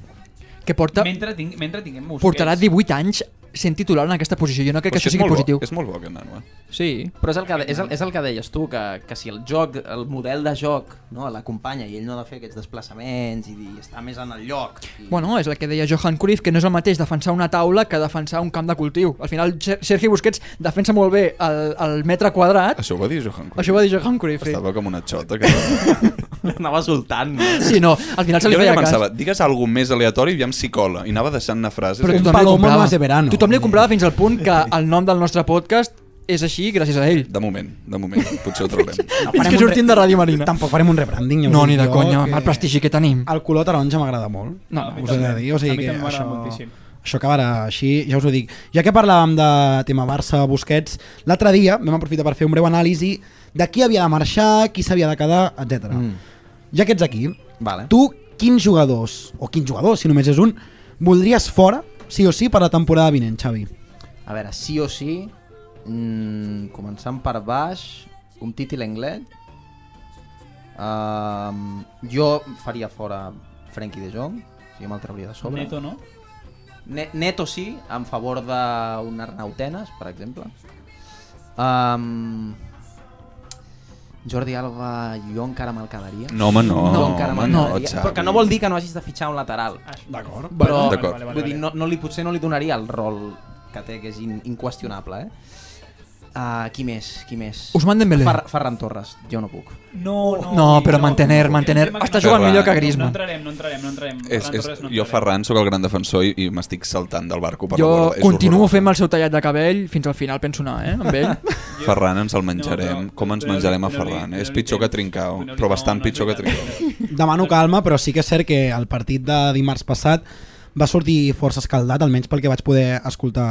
Que porta,
Mentre, ting, mentre tinguem Busquets.
portarà 18 anys sent titular en aquesta posició. Jo no crec
Però
que això
és
sigui
molt bo,
positiu.
És molt bo aquest nano, eh?
Sí.
Però és el que, és el, és el que deies tu, que, que si el joc, el model de joc, no, l'acompanya i ell no ha de fer aquests desplaçaments i, i està més en el lloc. I... [LAUGHS]
Bueno, és el que deia Johan Cruyff, que no és el mateix defensar una taula que defensar un camp de cultiu. Al final, Ser- Sergi Busquets defensa molt bé el, el metre quadrat.
Això ho va dir Johan Cruyff.
Això ho va dir Johan Cruyff, sí.
Estava com una xota. Que...
Anava soltant.
Sí, no, al final se li
jo
feia
ja
cas.
pensava, digues alguna més aleatori i aviam si cola. I anava eh? deixant una frase.
Però tothom li comprava. Tothom li comprava fins al punt que el nom del nostre podcast és així gràcies a ell.
De moment, de moment. Potser ho traurem.
Fins que sortim de Ràdio Marina.
Tampoc farem un rebranding. ja us
No,
dic
ni de
jo,
conya,
que- Ah.
amb el prestigi que tenim.
El color taronja m'agrada molt.
No, no,
us he de dir, o sigui
a mi
que
també m'agrada
això,
moltíssim.
això acabarà així, ja us ho dic. Ja que parlàvem de tema Barça-Busquets, l'altre dia vam aprofitar per fer un breu anàlisi de qui havia de marxar, qui s'havia de quedar, etc. Mm. Ja que ets aquí,
vale.
tu quins jugadors, o quins jugadors, si només és un, voldries fora, sí o sí, per la temporada vinent, Xavi?
A veure, sí o sí, mm, començant per baix, un títol anglès. Uh, jo faria fora Frenkie de Jong, si jo me'l trauria de sobre.
Neto, no?
Ne Neto sí, en favor d'un Arnautenes, per exemple. Um, Jordi Alba, jo encara me'l quedaria.
No, home, no,
Jo encara me'l
home, no,
quedaria.
Xavi.
Però que no vol dir que no hagis de fitxar un lateral.
D'acord.
Però
D'acord.
vull dir, no, no li, potser no li donaria el rol que té, que és in, inqüestionable. Eh? Uh, qui més? Qui més?
Ousmane Dembélé.
Fer Ferran Torres. Jo no puc.
No, no.
No, però mantener, mantener.
Tema que
Està
no-
jugant
Ferran.
millor que
No
Griezmann.
entrarem, no entrarem, no entrarem.
És,
Ferran
és,
Torres no
jo, Ferran, sóc el gran defensor i, i m'estic saltant del barco. Per la
jo
borda. És eh?
continuo fent el seu tallat de cabell fins al final, penso anar, eh, amb
[LAUGHS]
ell.
horrorós. Ferran ens el menjarem. Com ens menjarem a Ferran? eh? És pitjor que Trincao, però bastant pitjor que Trincao.
Demano calma, però sí que és cert que el partit de dimarts passat va sortir força escaldat, almenys pel que vaig poder escoltar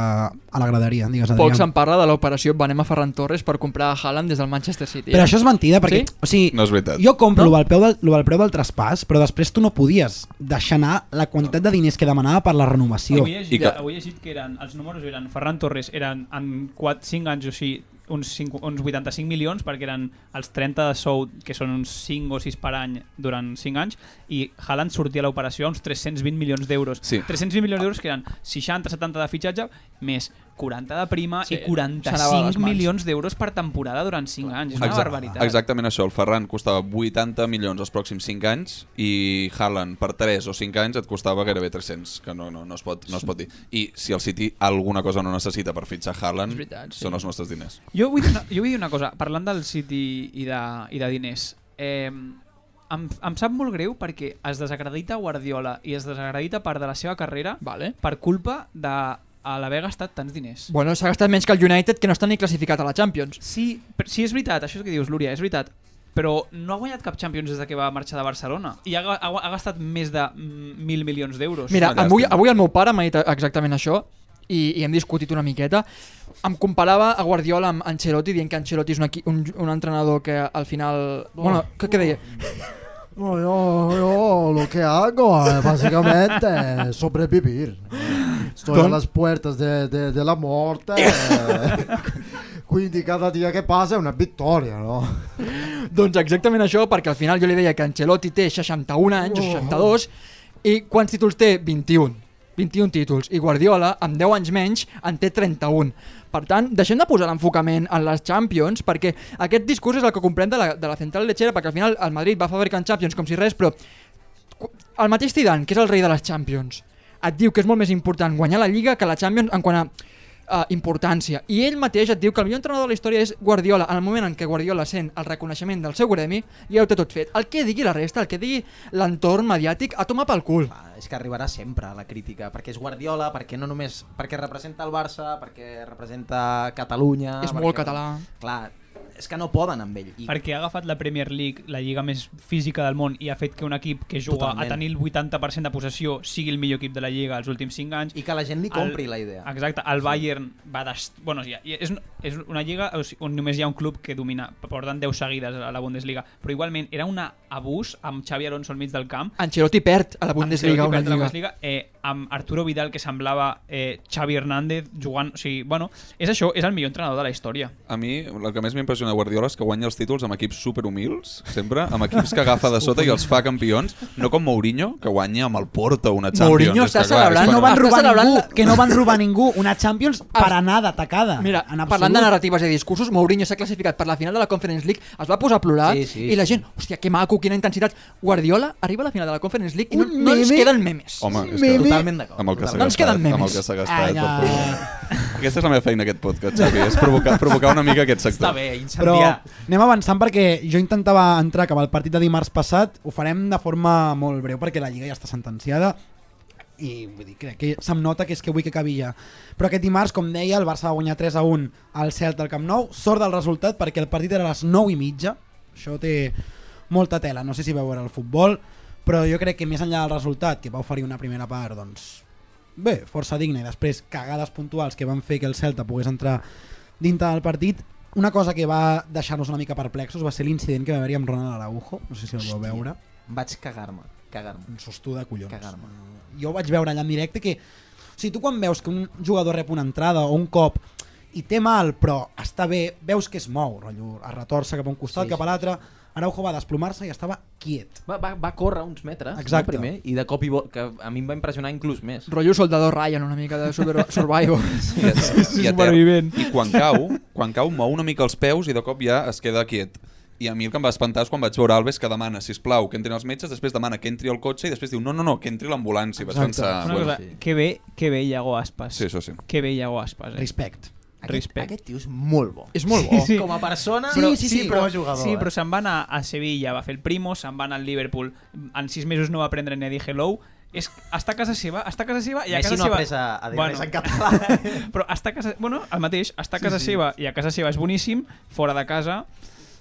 a la graderia, digues Adrià.
Poc se'n parla de l'operació Venem a Ferran Torres per comprar a Haaland des del Manchester City. eh.
Però això és mentida, perquè
Sí?
o sigui,
No és veritat.
jo compro no? el, preu del, lo del preu del traspàs, però després tu no podies deixar anar la quantitat de diners que demanava per la renovació.
Avui he, llegit, que... avui he llegit que eren, els números eren Ferran Torres eren en 4, 5 anys o així uns, 5, uns 85 milions perquè eren els 30 de sou que són uns 5 o 6 per any durant 5 anys i Haaland sortia a l'operació a uns 320 milions d'euros
Sí.
320 milions d'euros que eren 60-70 de fitxatge més 40 de prima
Sí,
i
s'anava a les mans.
45 milions d'euros per temporada durant 5 anys és una
Exac-
barbaritat
Exactament això. El Ferran costava 80 milions els pròxims 5 anys i Haaland per 3 o 5 anys et costava gairebé 300, que no, no, no, es, pot, no es pot dir. I si el City alguna cosa no necessita per fitxar Haaland,
És veritat, sí.
són els nostres diners.
Jo vull, dir una, jo vull dir una cosa, parlant del City i de, i de diners. Eh, em, em sap molt greu perquè es desacredita Guardiola i es desacredita part de la seva carrera
vale.
per culpa de a l'haver gastat tants diners.
Bueno, s'ha gastat menys que el United, que no està ni classificat a la Champions.
Sí, però, sí, és veritat, això és el que dius, Lúria, és veritat. Però no ha guanyat cap Champions des de que va marxar de Barcelona. I ha, ga- ha, ha gastat més de mm, mil milions d'euros.
Mira, avui, avui el meu pare m'ha dit exactament això i, i hem discutit una miqueta. Em comparava a Guardiola amb Ancelotti dient que Ancelotti és un, equi, un, un entrenador que al final...
Oh.
Bueno, què, què deia?
No, yo, yo lo que hago eh, básicamente es sobrevivir. Estoy a
Don-
las puertas de, de- de la muerte. eh. Quindi cada día que pasa es una victoria, ¿no?
Doncs exactament això, perquè al final jo li deia que Ancelotti té 61 anys o 62 i quants títols té? 21. 21 títols. I Guardiola, amb 10 anys menys, en té 31. Per tant, deixem de posar l'enfocament en les Champions, perquè aquest discurs és el que comprem de la, de la central lechera, perquè al final el Madrid va fabricant Champions com si res, però cu- el mateix Zidane, que és el rei de les Champions, et diu que és molt més important guanyar la Lliga que la Champions en quant a uh, importància. I ell mateix et diu que el millor entrenador de la història és Guardiola. En el moment en què Guardiola sent el reconeixement del seu gremi, ja ho té tot fet. El que digui la resta, el que digui l'entorn mediàtic, a tomar pel cul.
És que arribarà sempre a la crítica, perquè és Guardiola, perquè no només perquè representa el Barça, perquè representa Catalunya...
És
perquè-
molt català.
Clar, és que no poden amb ell. I
Perquè ha agafat la Premier League, la lliga més física del món, i ha fet que un equip que juga
Totalment.
a tenir el 80% de possessió sigui el millor equip de la lliga els últims 5 anys.
I que la gent li compri la idea.
Exacte, el Bayern va... Des... Bueno, ja, ja- és, és una lliga o sigui, on només hi ha un club que domina, porten 10 seguides a la Bundesliga, però igualment era un abús amb Xavi Alonso al mig del camp
Ancelotti perd a la Bundesliga
Ancelotti
una
perd la
lliga.
Bundesliga, eh, amb Arturo Vidal, que semblava eh, Xavi Hernández jugant... O sigui, bueno, és això, és el millor entrenador de la història.
A mi, el que més m'impressiona de Guardiola és que guanya els títols amb equips superhumils, sempre, amb equips que agafa de sota i els fa campions, no com Mourinho, que guanya amb el Porto una Champions.
Mourinho
És que,
està
clar, és
celebrant-
quan-
no van robar
Celebrant
ningú.
la- que no van robar ningú una Champions per anar d'atacada.
Mira,
en absolut.
parlant de narratives i discursos, Mourinho s'ha classificat per la final de la Conference League, es va posar a plorar
Sí, sí,
i la
sí.
gent, hòstia, que maco, quina intensitat. Guardiola arriba a la final de la Conference League i no,
Un
no ens
meme.
queden memes.
Home, és que...
Meme. Totalment d'acord.
Amb el que s'ha
Doncs
gastat,
queden memes.
Amb el que s'ha gastat. per
Ai, no.
favor. Aquesta és la meva feina, aquest podcast, Xavi, és provocar, provocar una mica aquest sector.
Però anem avançant perquè jo intentava entrar cap al partit de dimarts passat, ho farem de forma molt breu perquè la Lliga ja està sentenciada i vull dir, crec que se'm nota que és que vull que acabi ja. Però aquest dimarts, com deia, el Barça va guanyar 3 a 1 al Celta al Camp Nou. Sort del resultat perquè el partit era a les 9 i mitja. Això té molta tela. No sé si veu veure el futbol, però jo crec que més enllà del resultat, que va oferir una primera part, doncs, bé, força digna i després cagades puntuals que van fer que el Celta pogués entrar dintre del partit una cosa que va deixar-nos una mica perplexos va ser l'incident que va haver-hi amb Ronald Araujo no sé si el vau
Hòstia.
veure
Vaig cagar-me, cagar-me.
Un sostú de
Doncs,
collons.
Cagar-me.
jo ho vaig veure allà en directe que o sigui, tu quan veus que un jugador rep una entrada o un cop i té mal però està bé, veus que es mou rotllo, es retorça cap a un costat,
Sí,
cap a l'altre Araujo va desplomar-se i estava quiet
va, va, va córrer uns metres
Exacte.
No, primer, i de cop i vol, que a mi em va impressionar inclús més.
Rotllo soldador Ryan, una mica de super- survival.
I, a, i, a terra. I quan cau, quan cau, mou una mica els peus i de cop ja es queda quiet. I a mi el que em va espantar és quan vaig veure Alves que demana, si plau, que entrin els metges, després demana que entri el cotxe i després diu, no, no, no, que entri l'ambulància. I Vaig
Exacte.
pensar...
Una cosa, que bé, que bé Iago Aspas.
Ah, Sí, això sí.
Que bé Iago Aspas, eh?
Respect.
Aquest,
Respect.
aquest tio és molt bo.
És molt bo.
Sí, sí. Com a eh. persona...
però, sí, però se'n va anar a Sevilla, va fer el Primo, se'n va anar al Liverpool, en sis mesos no va aprendre ni a dir hello, és, està a casa seva, està a casa seva i a
Messi
casa
no ha
seva...
après a- a dir res en
[LAUGHS]
català.
però està a casa... Bueno, el mateix, està a casa
Sí, sí.
seva i a casa seva és boníssim, fora de casa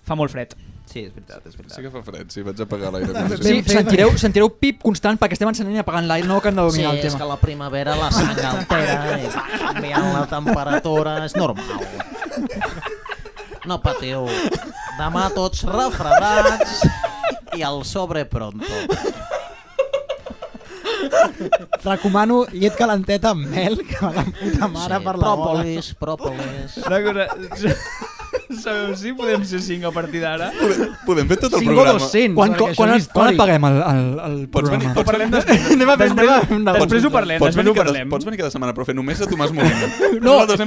fa molt fred.
Sí, és veritat, és veritat.
Sí que fa fred, sí, vaig apagar l'aire.
Sí, sentireu, sentireu pip constant perquè estem encenent i apagant l'aire, no que hem de
Sí,
dominar el
és
tema.
que la primavera la sang altera i va canviant la temperatura, és normal. No patiu. Demà tots refredats i al sobre pronto.
Recomano llet calenteta amb mel, que va la puta mare
Sí,
per la bola.
pròpolis, pròpolis.
Una cosa... [LAUGHS] Sabeu si podem ser cinc a partir d'ara?
Podem fer tot el
Cinc o
programa.
200,
Quan, quan, quan,
perquè això és
el- quan
històric.
apaguem el, el, el
Pots venir,
programa?
pots venir,
anem a, anem a, anem a,
després ho parlem,
pots
després
venir
ho
cada-
parlem.
Pots venir cada setmana, però fer només a Tomàs Molina.
No,
Nosaltres hem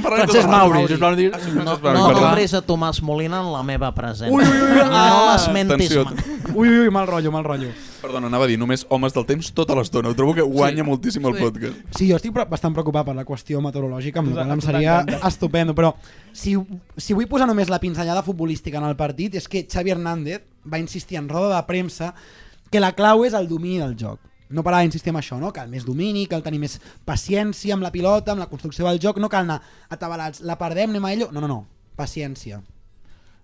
parlat de
Francesc
Tomàs
Mauri,
Molina.
sisplau, no diguis-
Ah, sí, Francesc
No,
Mauri,
no
perdó.
nombris a Tomàs Molina en la meva presència.
Ui, ui, ui,
no
ah,
l'esmentis
atenció.
mai.
Ui, ui, ui, mal rotllo, mal rotllo.
Perdona, anava a dir, només homes del temps tota l'estona. Ho trobo que guanya moltíssim el podcast.
Sí, jo estic pre- bastant preocupat per la qüestió meteorològica, amb la qual
Total-
em seria
totalment.
estupendo, però si, si vull posar només la pinzellada futbolística en el partit és que Xavi Hernández va insistir en roda de premsa que la clau és el domini del joc. No parar d'insistir en això, no? Cal més domini, cal tenir més paciència amb la pilota, amb la construcció del joc, no cal anar atabalats, la perdem, anem a ello... No, no, no, paciència.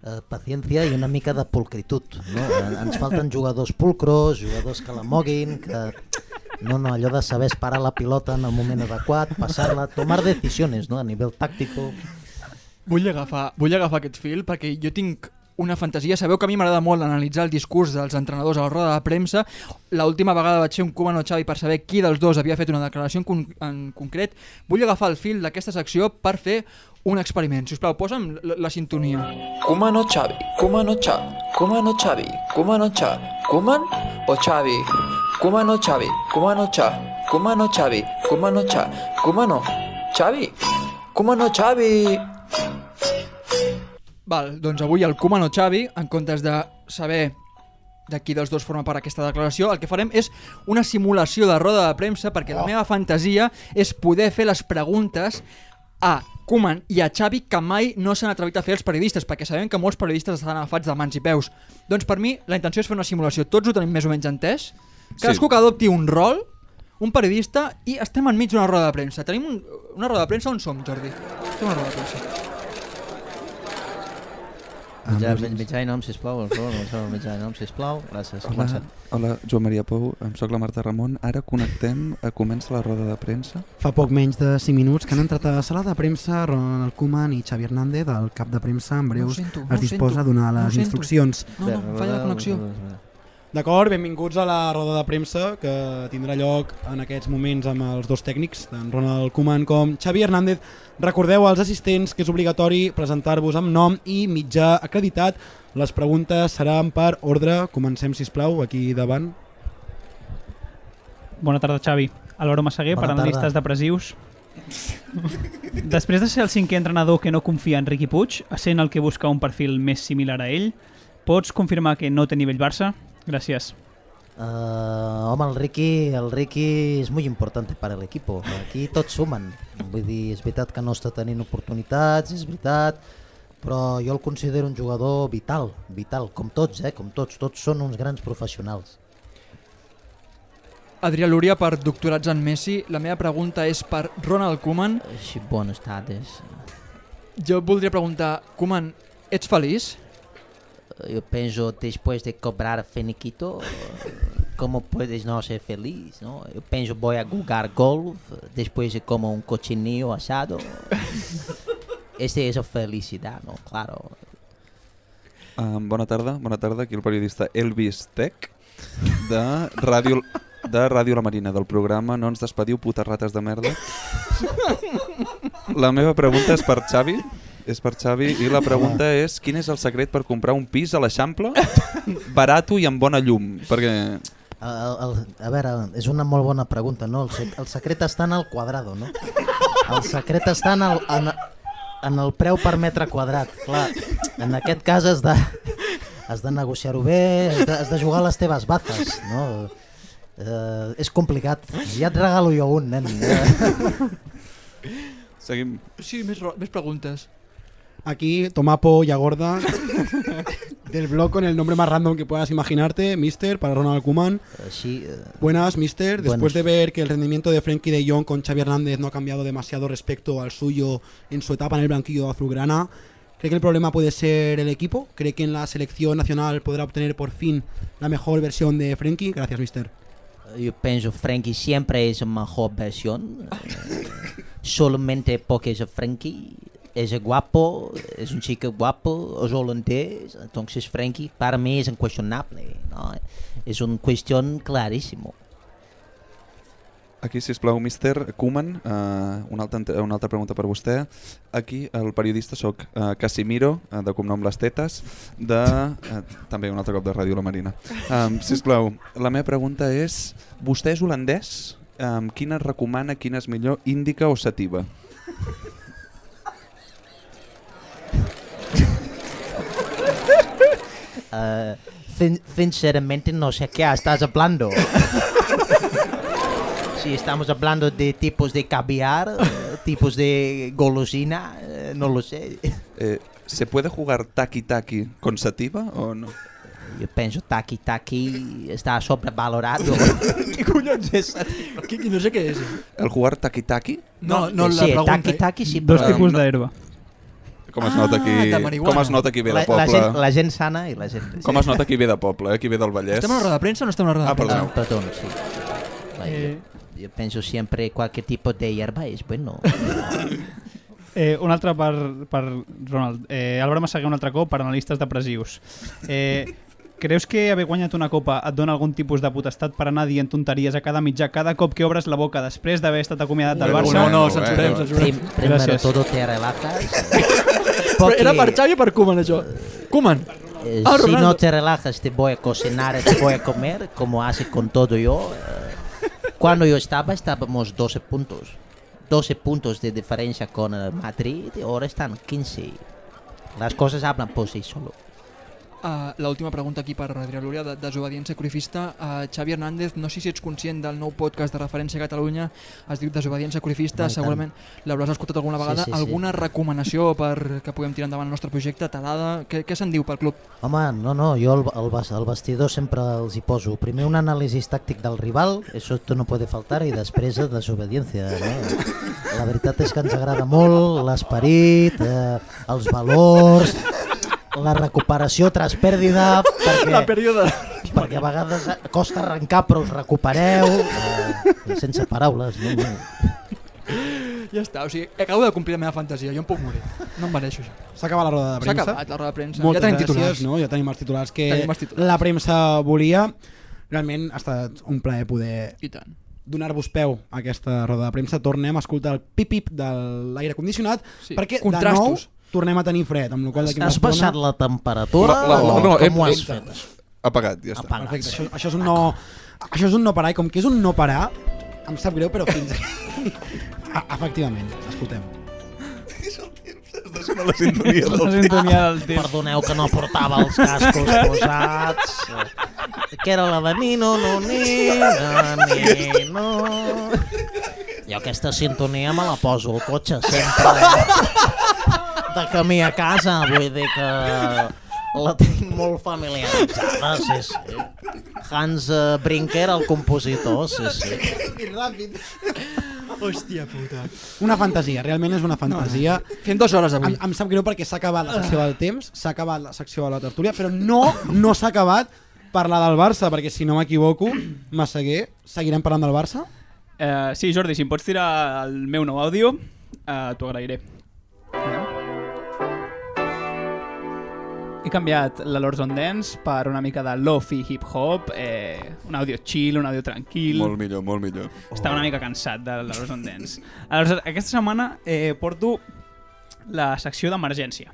Eh, paciència i una mica de pulcritud. No? Eh, Ens falten jugadors pulcros, jugadors que la moguin, que... No, no, allò de saber esperar la pilota en el moment adequat, passar-la, tomar decisiones no? a nivell tàctico.
Vull agafar, vull agafar aquest fil perquè jo tinc una fantasia. Sabeu que a mi m'agrada molt analitzar el discurs dels entrenadors a la roda de premsa. L'última vegada vaig ser un cubano Xavi per saber qui dels dos havia fet una declaració en, con en concret. Vull agafar el fil d'aquesta secció per fer un experiment. Si us plau, posa'm la, la sintonia.
Kumano Xavi, Kumano Xavi, Kumano Xavi, Kumano Xavi, Kuman o Xavi, Kumano Xavi, Kumano Xavi, Kumano Xavi, Kumano Xavi, Kumano Xavi, Kumano Xavi.
Val, doncs avui el Kumano Xavi, en comptes de saber de qui dels dos forma part aquesta declaració, el que farem és una simulació de roda de premsa perquè la meva fantasia és poder fer les preguntes a Koeman i a Xavi que mai no s'han atrevit a fer els periodistes perquè sabem que molts periodistes estan agafats de mans i peus. Doncs per mi la intenció és fer una simulació. Tots ho tenim més o menys entès. Cadascú que adopti un rol, un periodista i estem enmig d'una roda de premsa. Tenim un, una roda de premsa on som, Jordi? Estem a roda de premsa.
Mitjà, mitjà i nom, sisplau, per favor, comencem amb mitjà i nom, sisplau. Gràcies.
Hola,
Comencem.
hola, Joan Maria Pou, em sóc la Marta Ramon. Ara connectem, eh, comença la roda de premsa.
Fa poc menys de 5 minuts que han entrat a la sala de premsa Ronald Koeman i Xavi Hernández, el cap de premsa en breus
sento, no
es
ho
disposa a
sento,
donar
no ho
les
sento.
instruccions.
No, no, em falla la connexió.
D'acord, benvinguts a la roda de premsa que tindrà lloc en aquests moments amb els dos tècnics, tant Ronald Koeman com Xavi Hernández. Recordeu als assistents que és obligatori presentar-vos amb nom i mitjà acreditat. Les preguntes seran per ordre. Comencem, si plau, aquí davant.
Bona tarda, Xavi. Álvaro Massaguer,
Bona
per analistes
tarda.
depressius. Després de ser el cinquè entrenador que no confia en Riqui Puig, essent el que busca un perfil més similar a ell, pots confirmar que no té nivell Barça? Gràcies.
Uh, home, el Ricky, el Ricky és molt important per a l'equip. Aquí tots sumen. Vull dir, és veritat que no està tenint oportunitats, és veritat, però jo el considero un jugador vital, vital, com tots, eh? Com tots, tots són uns grans professionals.
Adrià Lúria per Doctorats en Messi. La meva pregunta és per Ronald Koeman.
Sí, bones tardes.
Jo et voldria preguntar, Koeman, ets feliç?
Yo pienso, después de cobrar finiquito, ¿cómo puedes no ser feliz? No? Yo pienso, voy a jugar golf, después como un cochinillo [LAUGHS] asado. Ese es felicidad, ¿no? Claro.
Um, bona tarda, bona tarda, aquí el periodista Elvis Tech de Ràdio de Ràdio La Marina, del programa No ens despediu, putes rates de merda. La meva pregunta és per Xavi, és per Xavi, i la pregunta és quin és el secret per comprar un pis a l'Eixample barato i amb bona llum, perquè
El, el, a veure, és una molt bona pregunta, no? El, sec, el secret està en el quadrado, no? El secret està en el, en, en el preu per metre quadrat, clar. En aquest cas has de, has de negociar-ho bé, has de, has de jugar a les teves bazes, no? Eh, és complicat. Ja et regalo jo un, nen. Eh?
Seguim.
Sí, més, ro- més preguntes.
Aquí, Tomapo Yagorda, del blog con el nombre más random que puedas imaginarte, Mister, para Ronald Koeman.
Sí, eh,
Buenas, Mister. Después
Buenas.
de ver que el rendimiento de Frenkie de Jong con Xavi Hernández no ha cambiado demasiado respecto al suyo en su etapa en el blanquillo azulgrana, ¿cree que el problema puede ser el equipo? ¿Cree que en la selección nacional podrá obtener por fin la mejor versión de Frenkie? Gracias, Mister.
Yo pienso Frankie siempre es mejor versión. Eh, Solamente porque es Frankie. Es guapo, es un chico guapo, es holandés. Entonces Frankie para mí es incuestionable. ¿no? Es una cuestión clarísimo.
Aquí, sisplau, Mister Koeman, uh, una, altra, ent- una altra pregunta per vostè. Aquí, el periodista sóc uh, Casimiro, uh, de cognom Les Tetes, de... Uh, també un altre cop de Ràdio La Marina. Um, sisplau, la meva pregunta és, vostè és holandès? Um, quina recomana, quina és millor, índica o sativa?
Eh, sin- sinceramente no sé qué estás hablando. si estamos hablando de tipos de caviar, eh, tipos de golosina, eh, no lo sé.
Eh, ¿Se puede jugar taqui-taqui con sativa o no?
Yo pienso taqui-taqui está sobrevalorado.
¿Qué collons és?
no sé què és.
El jugar taqui-taqui?
No, no, la
sí,
pregunta. eh.
taqui-taqui sí,
Dos
però-
tipus d'herba. Com es nota aquí,
de marihuana.
com es nota aquí ve
Ah, la,
de poble?
La gent, la gent sana i la gent...
Com es nota qui ve de poble, eh? qui ve del Vallès?
Estem a una roda de premsa o no estem a una roda de
ah,
premsa?
Ah,
perdó. Sí. Eh. Yo pienso siempre cualquier tipo de hierba es
[LAUGHS]
bueno.
Eh, un altre per, per Ronald. Eh, Álvaro Massaguer un altre cop per analistes depressius. Eh, creus que haver guanyat una copa et dona algun tipus de potestat per anar dient tonteries a cada mitjà cada cop que obres la boca després d'haver estat acomiadat del
Bueno,
Barça?
no, no,
eh,
censurem, censurem. Prim- primero todo te relajas. Però
[LAUGHS] era per Xavi o per Koeman, això? Koeman.
Eh,
Ah,
si
Ronaldo.
no te relajas, te voy a cocinar, te voy a comer, como hace con todo yo. Eh, Cuando yo estaba, estábamos 12 puntos. 12 puntos de diferencia con eh, Madrid, ahora están 15. Las cosas hablan por sí solo.
Uh, L'última pregunta aquí per Adrià Lúria, de Desobediència Corifista. Uh, Xavi Hernández, no sé si ets conscient del nou podcast de referència a Catalunya, es diu Desobediència
Home, i
Corifista,
tant.
segurament l'hauràs escoltat alguna
Sí,
vegada.
sí, sí.
alguna recomanació per que puguem tirar endavant el nostre projecte, talada, què, què se'n diu pel club?
Home, no, no, jo al al bas- al vestidor sempre els hi poso primer un anàlisi tàctic del rival, això tu no puede faltar, i després eh, desobediència. No? La veritat és que ens agrada molt l'esperit, eh, els valors, la recuperació tras pèrdida, perquè,
La període.
perquè a vegades costa arrencar però us recupereu, eh, sense paraules. No, no.
Ja està, o sigui, acabo de complir la meva fantasia, jo em puc morir. No em mereixo això.
S'ha acabat la roda de premsa.
S'ha acabat la roda de premsa.
Moltes
ja tenim
gràcies,
titulars.
No? Ja tenim els titulars que
Tenim els titulars.
la premsa volia. Realment ha estat un plaer poder donar-vos peu a aquesta roda de premsa. Tornem a escoltar el pip-pip de l'aire condicionat
Sí,
perquè
contrastos.
de nou tornem a tenir fred. Amb la qual cosa d'aquí una
Has
estona-
baixat la temperatura?
La- la-
o
no, eh,
com ho
he-
has
he-
fet?
Apagat, ja està.
Apagat.
Perfecte, això, això és un no... Això és un no parar i com que és un no parar, em sap greu, però fins aquí. Ah, Efectivament, escoltem.
la sintonia
[LAUGHS] La sintonia
del temps. Perdoneu que no portava els cascos posats. Que era la de ni, no, no, ni, no, ni, no. Jo aquesta sintonia me la poso al cotxe sempre. eh? De camí a casa, vull dir que la tinc molt familiaritzada, sí, sí. Hans eh, Brinker, el compositor, sí, sí.
I ràpid.
Hòstia puta.
Una fantasia, realment és una fantasia. No,
Fem dues hores avui.
Em, em sap greu perquè s'ha acabat la secció del temps, s'ha acabat la secció de la tertúlia, però no, no s'ha acabat parlar del Barça, perquè si no m'equivoco, Massaguer, seguirem parlant del Barça?
Eh, sí, Jordi, si em pots tirar el meu nou àudio, eh, t'ho agrairé. He canviat la Lords on Dance per una mica de lofi hip-hop, eh, un àudio chill, un àudio tranquil.
Molt millor, molt millor.
Estava una mica cansat de la Lords on Dance. Aleshores, aquesta setmana eh, porto la secció d'emergència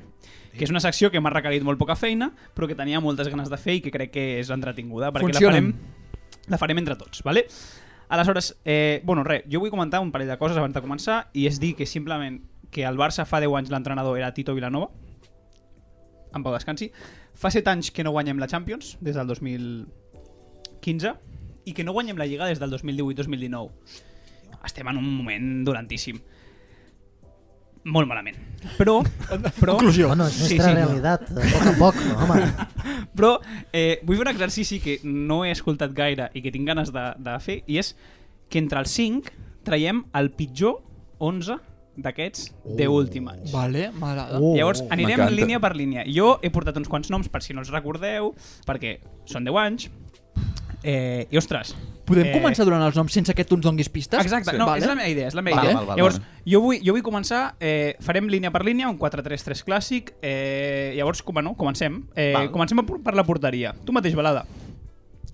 que és una secció que m'ha requerit molt poca feina, però que tenia moltes ganes de fer i que crec que és entretinguda, perquè
Funciona.
la farem, la farem entre tots, vale? Aleshores, eh, bueno, res, jo vull comentar un parell de coses abans de començar, i és dir que simplement que al Barça fa 10 anys l'entrenador era Tito Vilanova, en pau descansi, fa 7 anys que no guanyem la Champions, des del 2015, i que no guanyem la Lliga des del 2018-2019. Estem en un moment dolentíssim. molt malament. Però... però
Conclusió. Bueno, és nostra realitat, a poc a poc, home.
però eh, vull fer un exercici que no he escoltat gaire i que tinc ganes de, de fer, i és que entre els 5 traiem el pitjor 11 d'aquests de últim anys.
Vale, m'agrada.
Oh, Llavors, anirem línia per línia. Jo he portat uns quants noms, per si no els recordeu, perquè són 10 anys. Eh, I, ostres...
Podem
eh,
començar durant els noms sense que tu ens donguis pistes?
Exacte, no, és la meva idea, és la meva
Vale.
idea. llavors, jo vull, jo vull començar, eh, farem línia per línia, un 4-3-3 clàssic, eh, llavors, com, bueno, comencem. Eh,
Val.
comencem per, per la porteria. Tu mateix, Balada,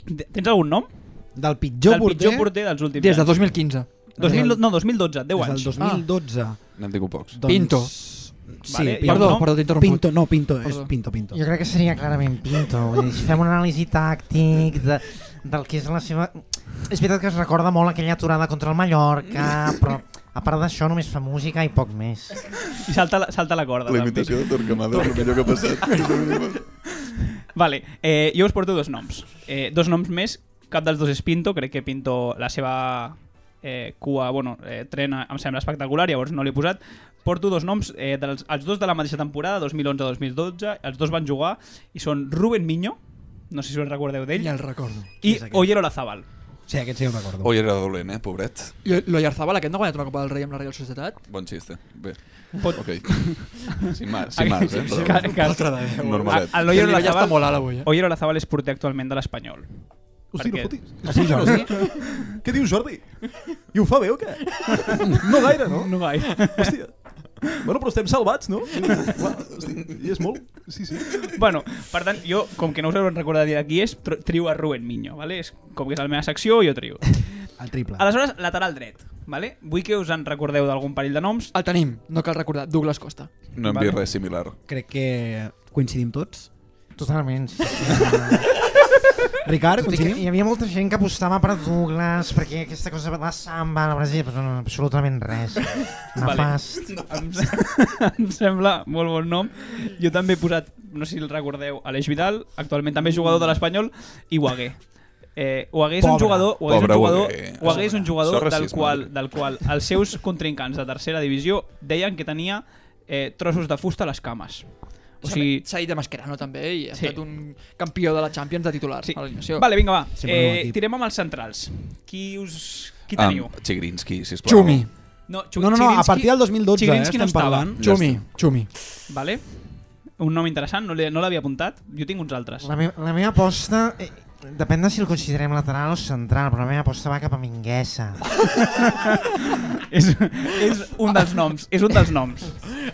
de- tens algun nom?
Del pitjor
Del
porter-
pitjor porter dels últims
Des de
anys.
2015.
2000, no, 2012, 10
Des del
anys. Ah.
2012.
N'hem tingut pocs.
Doncs-
Pinto.
Sí,
Vale,
Pinto.
perdó, perdó, t'he interromput.
Pinto, no, Pinto, és
Perdó.
Pinto, Pinto.
Jo crec que seria clarament Pinto. Vull dir, si fem un anàlisi tàctic de, del que és la seva... És veritat que es recorda molt aquella aturada contra el Mallorca, però a part d'això només fa música i poc més.
I salta la, salta la corda.
La
també.
imitació de Torquemada és el millor que ha
[LAUGHS]
passat.
Vale, eh, jo us porto dos noms. Eh, dos noms més, cap dels dos és Pinto, crec que Pinto la seva eh, cua, bueno, eh, trena, em sembla espectacular, llavors no l'he posat. Porto dos noms, eh, dels, els dos de la mateixa temporada, 2011-2012, els dos van jugar, i són Rubén Miño, no sé si us en recordeu d'ell.
Ja el recordo.
I Oyer Olazábal.
Sí, aquest sí el recordo.
Oi, era dolent, eh, pobret.
I l'Oyarzabal, aquest no ha guanyat una Copa del Rei amb la Real Societat?
Bon xiste. Bé.
Pot-
Ok. Sin más, sin
[LAUGHS]
más, eh? però-
Que, que,
Normalet.
A- a l'Oyer
Ja
Olazábal-
està molt alt avui, eh?
Oyer Olazábal és porter actualment de l'Espanyol.
Hosti, no
Perquè-
fotis.
Sí, Jordi.
Què dius, Jordi? I ho fa bé o què? No gaire, no?
No gaire.
Hòstia. Bueno, però estem salvats, no? Clar, hosti, I és molt. Sí, sí.
bueno, per tant, jo, com que no us heu recordat de qui és, tr- trio a Rubén Miño, ¿vale? és com que és la meva secció, jo trio.
El triple.
Aleshores, lateral dret, ¿vale? vull que us en recordeu d'algun parell de noms.
El tenim, no cal recordar, Douglas Costa.
No hem
Vale.
vist res similar.
Crec que coincidim tots.
Totalment. sí.
Ricard,
Tot i que
coincidim?
Hi havia molta gent que apostava per Douglas, perquè aquesta cosa de la samba, la Brasil, però no, absolutament res. Nefast.
Em, se- [LAUGHS] em sembla molt bon nom. Jo també he posat, no sé si el recordeu, Aleix Vidal, actualment també és jugador de l'Espanyol, i Guagué. Eh, Guagué és un
Pobre.
jugador, Guagué és un
Pobre
jugador,
Guagué.
Guagué és un jugador
Això és
del,
racisme.
qual, del qual els seus contrincants de tercera divisió deien que tenia eh, trossos de fusta a les cames. O sigui,
S'ha dit de Mascherano també i ha
Sí.
estat un campió de la Champions de titulars sí. a l'alineació.
Vale, vinga, va.
Sempre bon
Eh,
equip.
tirem amb els centrals. Qui us... Qui teniu?
Um, Chigrinsky, sisplau.
Xumi.
No, Chu-
Ah. No, no, no, a
Chigrinsky-
partir del 2012 eh,
Chigrinsky
estem
no estava.
parlant.
Xumi, Xumi.
Vale. Un nom interessant, no l'he- no l'havia apuntat. Jo tinc uns altres.
La, me la meva aposta... Eh, depèn de si el considerem lateral o central, però la meva aposta va cap a Minguesa.
[LAUGHS] és, és un dels noms, és un dels noms.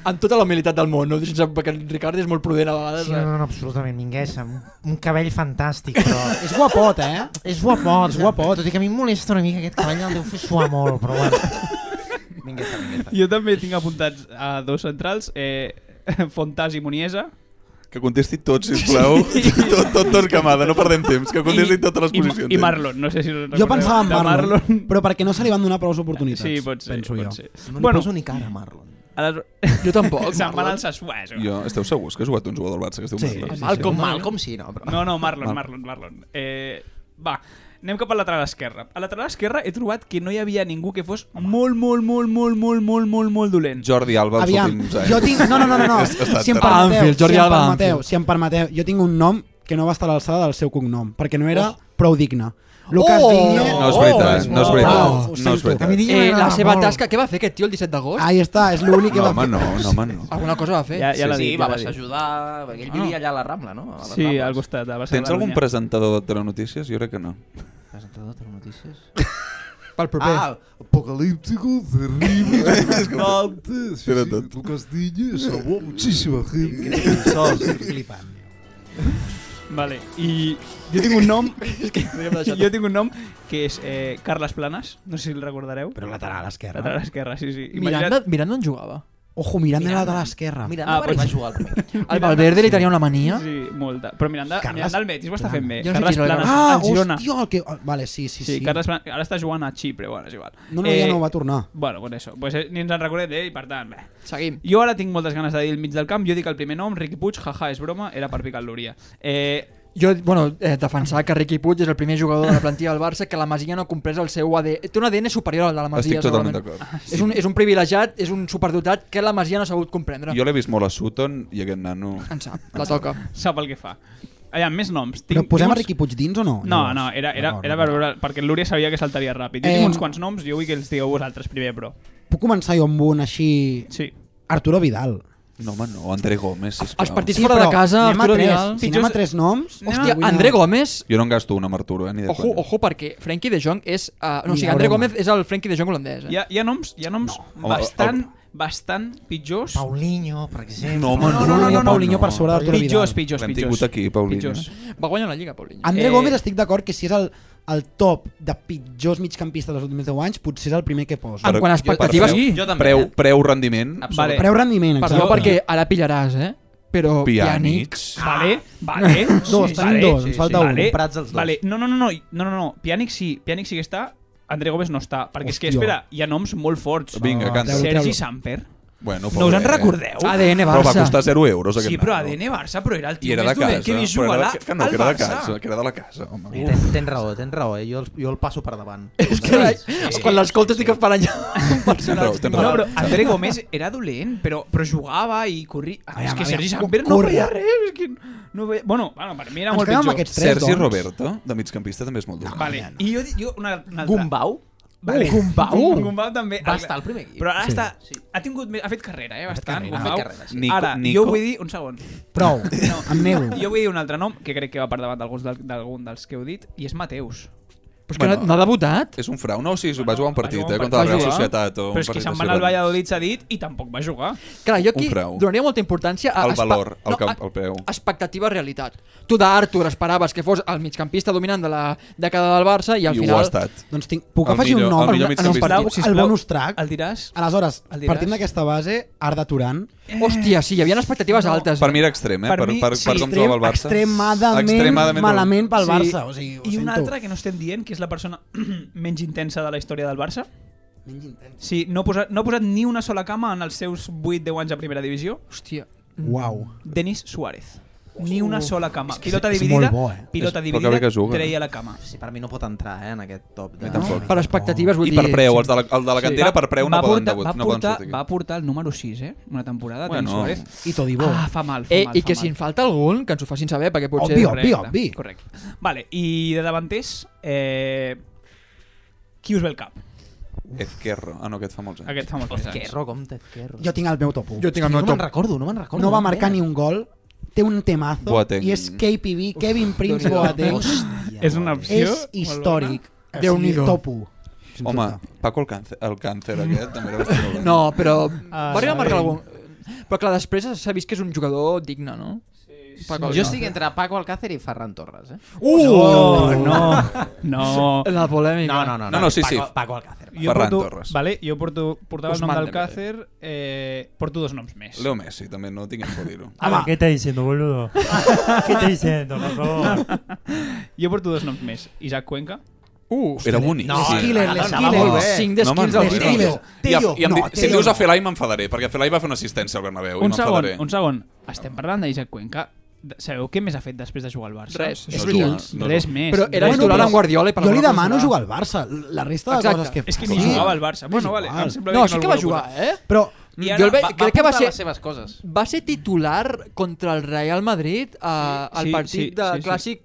Amb tota la humilitat del món, no? Sense- Perquè en Ricard és molt prudent a vegades. eh.
Sí, no, no, no absolutament, Minguesa. Un, un cabell fantàstic, però...
És guapot, eh?
És guapot.
És guapot.
Tot i que a mi em molesta una mica aquest cabell, el deu fer suar molt, però bueno.
Minguesa, Minguesa.
Jo també tinc apuntats a dos centrals, eh, [LAUGHS] Fontàs i Muniesa.
Que contesti tot, sisplau.
[LAUGHS]
[LAUGHS] tot, tot Torquemada, no perdem temps. Que contesti totes les
I-
posicions. eh.
I, Marlon, no sé si us
Jo
recordeu.
pensava en
De
Marlon, però perquè no se li van donar prou oportunitats,
Sí, pot ser,
penso
pot
jo.
ser.
No li
Bueno.
poso ni cara, Marlon.
Aleshores-
Jo
[LAUGHS]
tampoc,
Se'n van
Marlon.
al Sassuolo.
Jo, esteu segurs que ha jugat un jugador del Barça que es diu
Sí,
Marlon?
sí, sí. Malcom,
No, no.
Malcom
sí, no, però...
No, no, Marlon,
Val.
Marlon, Marlon. Eh, va, anem cap a la lateral esquerra. A la lateral esquerra he trobat que no hi havia ningú que fos molt, molt, molt, molt, molt, molt, molt, molt dolent.
Jordi Alba els
Aviam,
últims anys.
jo tinc... No, no, no, no,
[LAUGHS]
no.
És- està
si em
terrible.
permeteu,
Anfield, Jordi
si em
Alba,
permeteu,
Anfield.
si em permeteu, jo tinc un nom que no va estar a l'alçada del seu cognom, perquè no
Oh.
era prou digne. Lucas
Oh!
Digne...
No és veritat, no és
Bravo,
veritat.
ho
No és
sento.
veritat.
Eh, la seva
molt.
tasca, què va fer aquest tio el 17 d'agost?
Ahí està, és l'únic que
No,
va
home,
fer.
no, no, home, no.
Alguna cosa eh? va fer.
Ja, ja l'ha
sí,
dit,
va
ja l'ha
baixar a
dit.
ajudar, perquè ell
Ah.
vivia allà a la Rambla, no? A la
Sí,
Rambla.
al costat, a Barcelona.
Tens algun presentador de telenotícies? Jo crec que no.
Presentador de notícies.
Pel proper.
Ah,
Apocalíptico,
[LAUGHS]
terrible,
desgastante.
Sí,
Era
sí,
tanto.
tu Castillo salvó a muchísima gente.
Oh,
Vale, i jo tinc un nom... és que jo tinc un nom que és eh, Carles Planes, no sé si el recordareu. Però
lateral esquerra.
Lateral esquerra, sí, sí.
Miranda, Miranda on jugava?
Ojo, Miranda era de l'esquerra.
Miranda
Ah,
ah, va
pues-
jugar al primer.
Al Valverde li tenia una mania.
Sí, molta. Però Miranda,
Carles
Miranda el Betis ho està fent bé.
Jo no sé
Carles
qui era,
Planes,
Ah,
al Girona.
hòstia, el que... Vale, sí, sí, sí.
Sí, Carles Eh, Planes, ara està jugant a Xipre, bueno, és igual.
No, no, ja no va tornar.
Bueno, pues eso, pues eh, ni ens en recordem d'ell, per tant, bé.
Seguim.
Jo ara tinc moltes ganes de dir el mig del camp, jo dic el primer nom, Riqui Puig, jaja, és broma, era per picar l'Uria. Eh,
Jo, bueno, eh, defensar que Riqui Puig és el primer jugador de la plantilla del Barça que la Masia no comprés el seu ADN. Té un ADN superior al de la Masia,
Estic totalment
segurament.
d'acord. Ah, sí.
És, un, és un privilegiat, és un superdotat que la Masia no ha sabut comprendre.
Jo l'he vist molt a Sutton i aquest nano...
En sap, la toca.
Sap el que fa. Allà, més noms. Tinc,
Però posem
tinc
a Riqui Puig dins o no?
No, no, era, era, era per veure, perquè l'Úria sabia que saltaria ràpid. Jo
Eh,
tinc uns quants noms, jo vull que els digueu vosaltres primer, però...
Puc començar jo amb un així...
Sí.
Arturo Vidal.
No, home, no, André Gómez, sisplau.
Els partits fora de casa,
anem a
Arturo
tres.
Vidal.
Si anem a tres noms...
Hòstia,
avui no.
André Gómez,
Jo no en gasto una amb Arturo, eh, ni de
ojo,
conya.
ojo, perquè Frenkie de Jong és... Uh,
Ni
no, o
la
sigui, André
broma.
Gómez és el Frenkie de Jong holandès. Eh?
Hi ha, hi ha noms, hi ha noms
Home,
no. bastant, bastant pitjors. Paulinho, per exemple.
No, home,
no, no, no, no,
Paulinho per sobre d'Arturo Vidal.
Pitjors, pitjors,
L'hem
pitjors.
tingut aquí, Paulinho.
Pitjors.
Va guanyar la Lliga, Paulinho.
André
Eh,
eh... Gómez estic d'acord que si és el, el top de pitjors migcampistes dels últims 10 anys, potser és el primer que posa.
Per- per preu- Preu, preu rendiment.
Vale.
Preu rendiment, exacte.
Perdó, perquè ara pillaràs, eh? Però Pjanic...
Pjanic.
Vale, vale.
Ah, [LAUGHS] Dos, tenim dos, ens falta un.
vale,
Comprats els dos.
Vale. No, no, no, no, no, no, no. Pjanic sí, Pjanic sí que està, André Gómez no està, perquè és que,
Hòstia.
espera, hi ha noms molt forts.
Vinga,
Ah,
canta. Treu-lo,
Sergi
treu-lo.
Samper.
Bueno,
no us en
pobre.
recordeu?
ADN Però va Barça. costar zero euros, aquest
Sí, però
nano.
ADN Barça, però era el
I
tio
era
més
de casa.
dolent que he vist
però
jugar
era
a
de-
la-
que no,
al
que era de
Barça.
casa, que era de la casa, home.
Tens, tens raó, tens raó, eh? jo, el, jo el passo per davant.
Quan l'escoltes dic que per allà un
Raó,
personatge.
tens
No,
raó.
però André Gómez era dolent, però, però jugava i corria. Ah, és
veure,
que Sergi
cu-
Samper no
corre.
feia res. És que no feia... Bueno, bueno, per mi era molt pitjor.
doncs.
Sergi Roberto, de migcampista, també és molt dolent.
Vale. I jo, jo una, una altra.
Gumbau?
Vale.
Uh, Gumbau.
Uh, Gumbau també.
Va estar al primer equip.
Però ara
Sí.
està, ha, tingut, més- ha fet carrera, eh, bastant.
carrera, ha
Gumbau.
fet carrera, sí.
Nico-
Ara,
Nico-
jo vull dir... Un segon.
Prou, em nego.
Jo vull dir un altre nom, que crec que va per davant d'alguns del- d'algun dels que heu dit, i és Mateus.
Però és que no- no ha debutat.
És un frau, no? O sigui, va jugar un partit, eh?
Va
Contra la Real
jugar.
Societat. O un
Però és que
partit
se'n
així,
va anar al
però-
Valladolid cedit i tampoc va jugar.
Clar, jo aquí
Un frau.
donaria molta importància a
El
espe-
valor, el
no,
que-
a-
el preu.
expectativa realitat. Tu d'Artur esperaves que fos el migcampista dominant de la dècada del Barça i al
I ho
final...
ha estat.
Doncs tinc, puc afegir un nom en, en el partit, el bonus track.
El diràs?
Aleshores,
El diràs?
partint d'aquesta base, Arda Turan.
Hòstia, sí, hi havia expectatives no. altes.
Per mi era extrem, eh? Per, per, per, com jugava el Barça.
extremadament malament pel Barça, o sigui, ho
I una
sento.
altra que no estem dient, que és la persona [CLEARS THROAT] menys intensa de la història del Barça.
Menys intensa.
Sí, no ha posat, no ha posat ni una sola cama en els seus 8-10 anys a primera divisió.
Hòstia.
Uau.
Denis Suárez. Ni una sola cama. Pilota
és
dividida,
molt bo, eh?
pilota
És- però que
dividida,
bé que juga.
treia la cama.
Sí, per mi no pot entrar eh, en aquest top. De...
Mi tampoc.
Per expectatives, vull
I per
dir,
preu,
sí.
els de la, el de la cantera per preu no
va
poden
portar,
debut.
va,
no poden
portar,
sortir.
va portar el número 6, eh? Una temporada,
Bueno.
Denis Suárez.
I Todibo.
Ah, fa mal, fa
eh,
mal.
I
fa
que
mal.
si en falta algun, que ens ho facin saber, perquè potser...
Obvi, obvi, obvi.
Correcte. Vale, i de davanters, eh, qui us ve el cap?
Ezquerro. Ah, no, aquest fa molts anys.
Aquest fa molts anys. Ezquerro,
compte, Ezquerro.
Jo tinc el meu top 1.
Jo tinc el meu No me'n top. recordo, no me'n recordo.
No va marcar ni un gol, té un temazo,
Boateng.
i és KPB, Kevin Prince
Déu-n'hi-do.
Boateng.
Hòstia, És una opció
És
molt
històric.
Eh,
bona.
O sigui,
Déu-n'hi-do.
Top 1.
Home, Paco el càncer, el càncer aquest també era bastant dolent.
No, però
Ah,
va arribar a marcar
sí.
algun... Però clar, després s'ha vist que és un jugador digne, no? Sí,
Jo estic entre Paco Alcácer i Ferran Torres, eh?
Uh!
No, no, [LAUGHS] no.
La polèmica.
No, no, no.
No, no, sí, sí.
Paco, Paco Alcácer.
Jo porto, Vale, jo porto, portava el nom
Ousmane
del Càcer, eh, porto dos noms més.
Leo Messi, també, no tinc que dir-ho.
Ah, ¿Qué está diciendo, boludo? ¿Qué está diciendo, por favor?
Jo porto dos noms més. Isaac Cuenca.
Uh, Era bonic. I,
Teo.
i em,
No,
di- si em
Teo
dius a
no.
Felai m'enfadaré, perquè Felai va fer una assistència al Bernabéu
Un
i
segon,
m'enfadaré.
un segon. Estem parlant d'Isaac Cuenca. D- Sabeu què més ha fet després de jugar al Barça?
Res.
És
No
que
jugar, no
res
jugar.
més.
Però era
res
titular
més.
amb Guardiola i per la
Jo li
Barça
demano
serà.
jugar al Barça. La resta de
Exacte.
coses que fa...
doncs, És que ni jugava al Barça. Bueno,
És
vale,
igual.
em sembla
No,
bé
sí
que
que
no
va
el
jugar, eh?
Però
I
jo
ara
el ve,
va- va
crec que va
apuntar
ser,
les seves coses.
va ser titular contra el Real Madrid eh, al
sí,
partit
sí,
de
sí, sí.
clàssic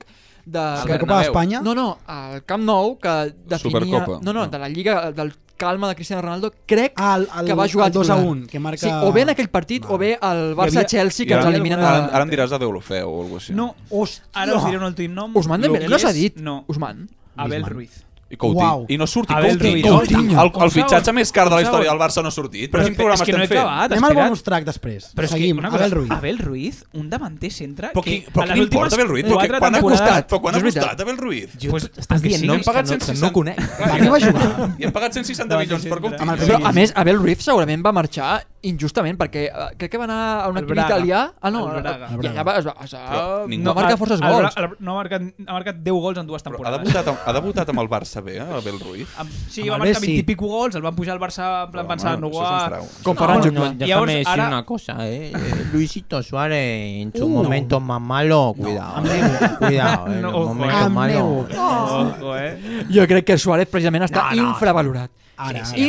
de...
Al Supercopa Bernabéu. d'Espanya?
No, no, al Camp Nou, que definia...
Supercopa.
No, no, de la Lliga del Calma de Cristiano Ronaldo, crec
al,
al-
que va jugar
al 2 Ah, a
titular.
1, que marca-
Sí, o bé en aquell partit, o bé el Barça-Chelsea,
I
que ens
ara-
eliminen de...
Ara, ara em diràs de Deulofeu o alguna cosa així.
No,
Hòstia.
ara us diré un últim nom.
Ousmane Dembélé
Lo
no
que
s'ha
és-
dit.
No.
Ousmane.
Abel Ruiz.
I Coutinho.
Uau.
I no ha sortit
Abel
Coutinho.
Ruiz. Coutinho.
El,
Un
el fitxatge
segon.
més car de
Un
la història
segon.
del Barça no ha sortit.
Però
Però quin
és que-
programa
és que no
estem
he
fent?
acabat,
Anem al
espera't.
bonus track després.
Però és que
Seguim,
una
Abel
cosa-
Ruiz.
Abel Ruiz, un davanter centre
Però, qui,
que
però
a
què
les
li
últimes
importa Abel Ruiz? Però,
quatre
que, quan ha
temporades-
costat? Però quan ha
És veritat.
costat Abel Ruiz?
Jo- Pues, estàs dient
no hem
noms
pagat
que no- que
160...
no conec.
Clar,
Arriba a
ja.
jugar.
I hem pagat 160 milions per Coutinho.
Però, a més, Abel Ruiz segurament va marxar injustament, perquè eh, crec que va anar a un
El
equip
Braga.
italià... Ah, no,
El Braga. Ah,
I allà va, es va, es va,
Però ningú-
no marca forces
el- el-
gols.
el- no ha marcat, ha marcat 10 gols en dues
Ha
temporades.
debutat, amb, ha debutat amb el Barça bé, eh, Abel Ruiz?
Amb- Sí, va marcar 20 i pico gols, el van pujar al Barça en plan pensant, no,
això és un frau.
Com
Ah,
No, no, déjame
Llavors,
decir
ara,
una cosa, eh. Eh, Luisito Suárez en su
Uh.
momento más malo, cuidado, eh. cuidado, en
No,
los
ojo,
momentos
eh.
malos.
Ojo,
eh.
Jo crec que Suárez precisament està
No, no.
infravalorat.
Ara, Sí, sí,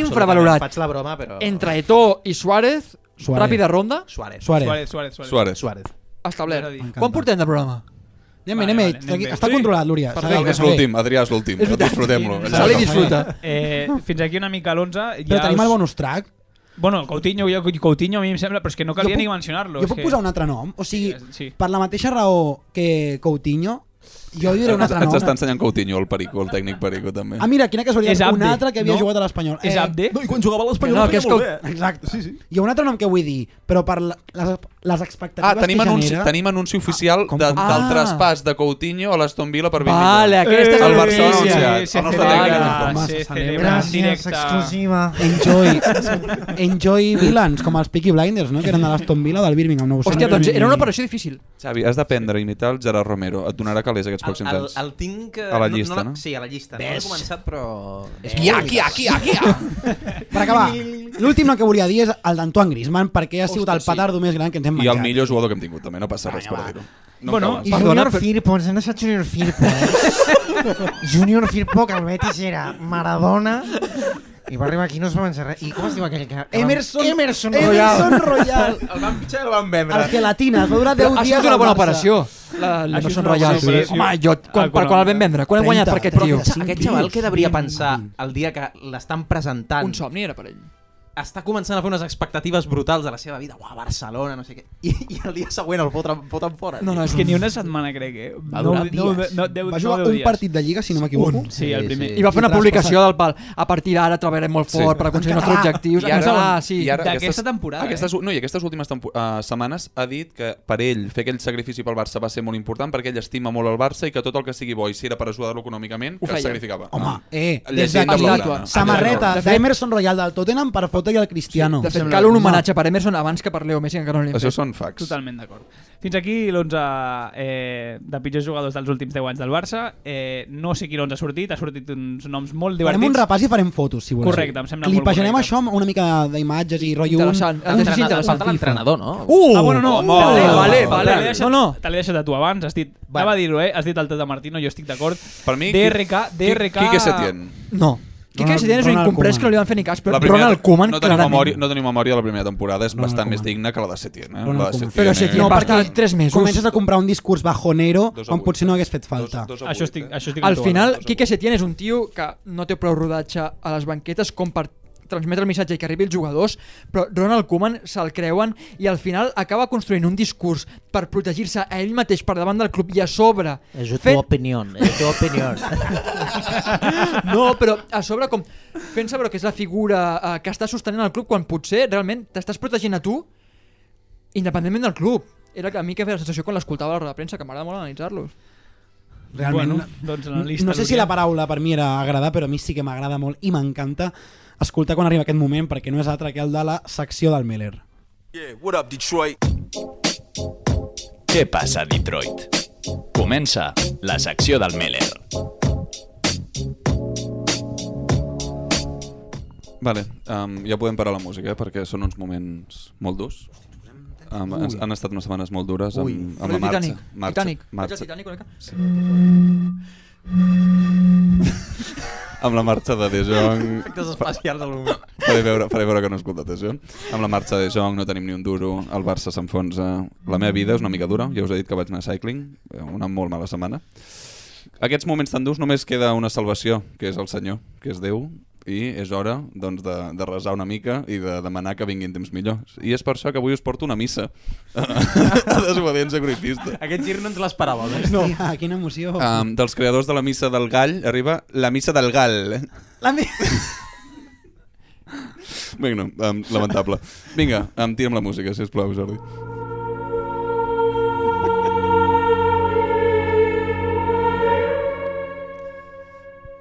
absolutament.
infravalorat.
Faig la broma, però-
Entre Eto'o i Suárez,
Suárez.
ràpida ronda.
Suárez.
Suárez, Suárez, Suárez.
Suárez.
Suárez.
Establert.
M'encanta.
Quan portem de programa?
Anem, anem, anem, tranqui- està controlat, Lúria.
Perfecte. És l'últim, Adrià és l'últim.
És veritat.
Disfrutem-lo.
Se l'he disfrutat.
Eh, fins aquí una mica l'11.
Però tenim el bonus track.
Bueno, Coutinho, jo, Coutinho a mi em sembla, però és que no calia
Jo puc-
ni mencionar-lo.
Jo
és
puc
que... eh,
posar un Eh, altre nom? O sigui,
sí.
per la mateixa raó que Coutinho, jo diré un
Ens,
altre nom.
ens està ensenyant Coutinho, el Perico, el tècnic Perico, també.
Ah, mira, quina casualitat,
És Abde,
un altre que havia
no?
jugat a l'Espanyol. Eh,
És Abde?
No, i quan jugava a
l'Espanyol
ho feia molt bé.
Exacte.
Sí, sí.
Hi ha un altre nom que vull dir, però per la, les, les expectatives
Ah, tenim
que
anunci,
genera...
tenim anunci oficial de, del
Ah.
traspàs de Coutinho a l'Aston Villa per 20
Vale,
milions.
aquesta és
Eh,
el
la
Barça ha
notícia.
anunciat.
Se
el nostre
celebra,
tècnic
se
informa.
exclusiva.
Enjoy. [LAUGHS] Enjoy Villans, com els Peaky Blinders, no? que eren de l'Aston Villa del Birmingham. No ho sé.
Hòstia, doncs era una operació difícil.
Xavi, has d'aprendre a imitar el Gerard Romero. Et donarà calés aquests pròxims
El,
anys.
el tinc... eh,
A la
no-
llista,
no,
no?
Sí, a la llista. No l'he
Ves.
començat, però...
És
Eh,
molt Per acabar, l'últim nom que volia dir és el d'Antoine Griezmann, perquè ha sigut el petardo més gran que ens hem
I el
menjat.
millor jugador que hem tingut, també. No passa res per dir-ho. No
bueno,
em
i
cal.
Junior Firpo, ens han deixat Junior Firpo. Eh? Junior Firpo, que el Betis era Maradona, i va arribar aquí i no es va menjar res. I com es diu aquell que... que
Emerson-
van- Emerson Royal.
Emerson Royal.
El van fitxar i el van vendre.
[LAUGHS] El que latina, es va durar
Però
10
ha
dies
sigut una
al
bona
Barça.
operació, la- la
Ha sigut
Emerson
una
Royal.
bona
Sí,
operació.
home, jo- quan- per quan el vam vendre? Quan hem guanyat per aquest
Però
tio?
aquest- Aquest xaval que devia
20.
pensar el dia que l'estan presentant...
Un somni era per ell.
Està començant a fer unes expectatives brutals de la seva vida. Uah, Barcelona, no sé què. I, i el dia següent el foten, foten fora.
No, no, és que ni una setmana, crec, eh?
Va
No,
durar
no,
dies.
no, deu,
Va
no,
jugar
deu
un
dies.
partit de Lliga, si no m'equivoco.
Un. Sí, el primer.
I va fer
I
una
traspassa-
publicació del pal. A partir d'ara treballarem molt
Sí.
fort per aconseguir els nostres objectius.
I ara,
ah, sí.
i ara aquestes-
eh?
Aquestes, No, i aquestes últimes tempo- eh, setmanes ha dit que per ell fer aquell sacrifici pel Barça va ser molt important perquè ell estima molt el Barça i que tot el que sigui bo i si era per ajudar-lo econòmicament,
Ho
que es
feia.
sacrificava.
Home,
Ah,
eh, des
Llegenda
d'aquí,
blaugrana.
samarreta
De fet-
d'Emerson Royal del Tottenham per fotre-hi el Cristiano.
De fet, cal un homenatge per Emerson abans que per Leo Messi, que encara no l'hem
Això
fet.
són facts.
Totalment d'acord. Fins aquí l'11 eh, de pitjors jugadors dels últims 10 anys del Barça. Eh, no sé quin 11 ha sortit, ha sortit uns noms molt divertits.
Farem un repàs i farem fotos, si voleu.
Correcte, em sembla molt
Clipejarem això amb una mica d'imatges i rotllo...
Interessant.
Un...
Entrenar- falta
l'entrenador, no?
Uh!
ah, bueno, no.
Uh!
Vale,
Vale,
vale,
vale.
vale.
No,
No,
no.
no. Te l'he deixat a tu abans. Has dit, bueno. anava a dir-ho, eh? Has dit el Tata Martino, jo estic d'acord.
Per mi,
DRK,
Qui-
DRK...
Quique Setién.
No. Quique
Ronald-
Setién és un
Ronald
incomprès
Koeman.
que no li van fer ni cas, però
La primera-
Ronald Koeman,
no tenim,
clarament.
memòria, no tenim memòria de la primera temporada, és bastant més digna que la de Setién. Eh? La de Setién
Però
eh?
Setién va estar tres mesos.
Comences a comprar un discurs bajonero
Dos a
quan
vuit. eh?
potser no hagués fet falta.
Dos a
Això
vuit,
estic,
eh?
això estic
Al
amb tu,
final,
Alba.
Quique Setién és un tio que no té prou rodatge a les banquetes com per transmetre el missatge i que arribi els jugadors, però Ronald Koeman se'l creuen i al final acaba construint un discurs per protegir-se a ell mateix per davant del club i a sobre
Es tu opinión, es tu opinión.
no, però a sobre com fent saber que és la figura eh, que està sostenint el club quan potser realment t'estàs protegint a tu independentment del club. Era que a mi que feia la sensació quan l'escoltava a la roda de premsa, que m'agrada molt analitzar-los.
Realment,
Bueno, doncs analista,
no sé si
Lucía.
la paraula per mi era agradar, però a mi sí que m'agrada molt i m'encanta escoltar quan arriba aquest moment perquè no és altre que el de la secció del Meller.
Yeah, what up, Detroit?
Què passa a Detroit? Comença la secció del Meller.
Vale, um, ja podem parar la música, eh? perquè són uns moments molt durs. Um, han,
Ui.
han estat unes setmanes molt dures amb,
Ui.
amb la
Ràdio
marxa.
Titanic,
marxa,
Titanic. Vaig al
marxa,
Titanic una mica.
amb la marxa de De Jong.
Efectes especials al moment.
Faré veure, faré veure que no he escoltat això. Amb la marxa de De Jong no tenim ni un duro, el Barça s'enfonsa. La meva vida és una mica dura, ja us he dit que vaig anar a cycling, eh, una molt mala setmana. Aquests moments tan durs només queda una salvació, que és el Senyor, que és Déu, i és hora doncs, de, de resar una mica i de demanar que vinguin temps millors. I és per això que avui us porto una missa [LAUGHS] a desobediència gruipista.
Aquest gir no ens l'esperava.
No. Hòstia, quina emoció.
Um, dels creadors de la missa del gall arriba la missa del gal.
La mi...
Vinga, no, um, lamentable. Vinga, um, tira'm la música, si us plau, Jordi.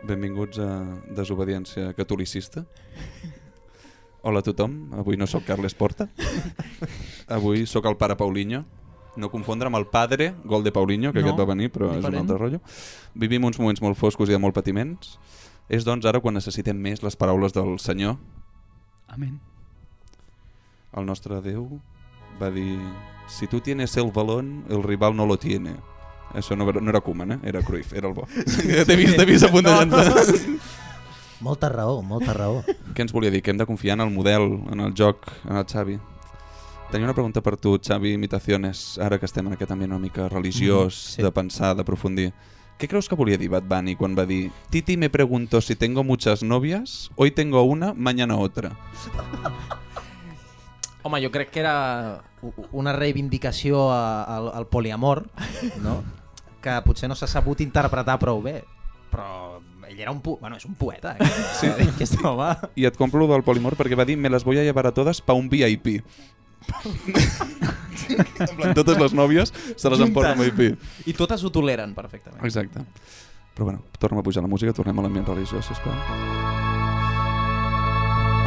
Benvinguts a Desobediència Catolicista. Hola a tothom, avui no sóc Carles Porta. Avui sóc el pare Paulinho. No confondre amb el padre, gol de Paulinho, que
No,
no, aquest va venir, però és un
diferent.
altre rotllo. Vivim uns moments molt foscos i de molt patiments. És, doncs, ara quan necessitem més les paraules del Senyor.
Amén.
El nostre Déu va dir... Si tu tienes el balón, el rival no lo tiene. Això no, era- no era Koeman, eh? era Cruyff, era el bo. T'he vist, t'he vist a punt de llançar.
Molta raó, molta raó.
Què ens volia dir? Que hem de confiar en el model, en el joc, en el Xavi. Tenia una pregunta per tu, Xavi Imitaciones, ara que estem en aquest ambient una mica
Mhm,
religiós, mm,
sí.
sí. de pensar, d'aprofundir. Què creus que volia dir Bad Bunny quan va dir Titi me pregunto si tengo muchas novias, hoy tengo una, mañana otra.
Home, jo crec que era u- una reivindicació a- al, al poliamor, [LAUGHS] no? que potser no s'ha sabut interpretar prou bé, però ell era un po bueno, és un poeta, eh? sí. [LAUGHS] aquest home.
I et compro lo del polimor perquè va dir me las voy a llevar a todas pa un VIP. [LAUGHS] en plan, totes les nòvies se les emporta un VIP.
I totes ho toleren perfectament.
Exacte. Però bueno, torna a pujar la música, tornem a l'ambient religiós, sisplau.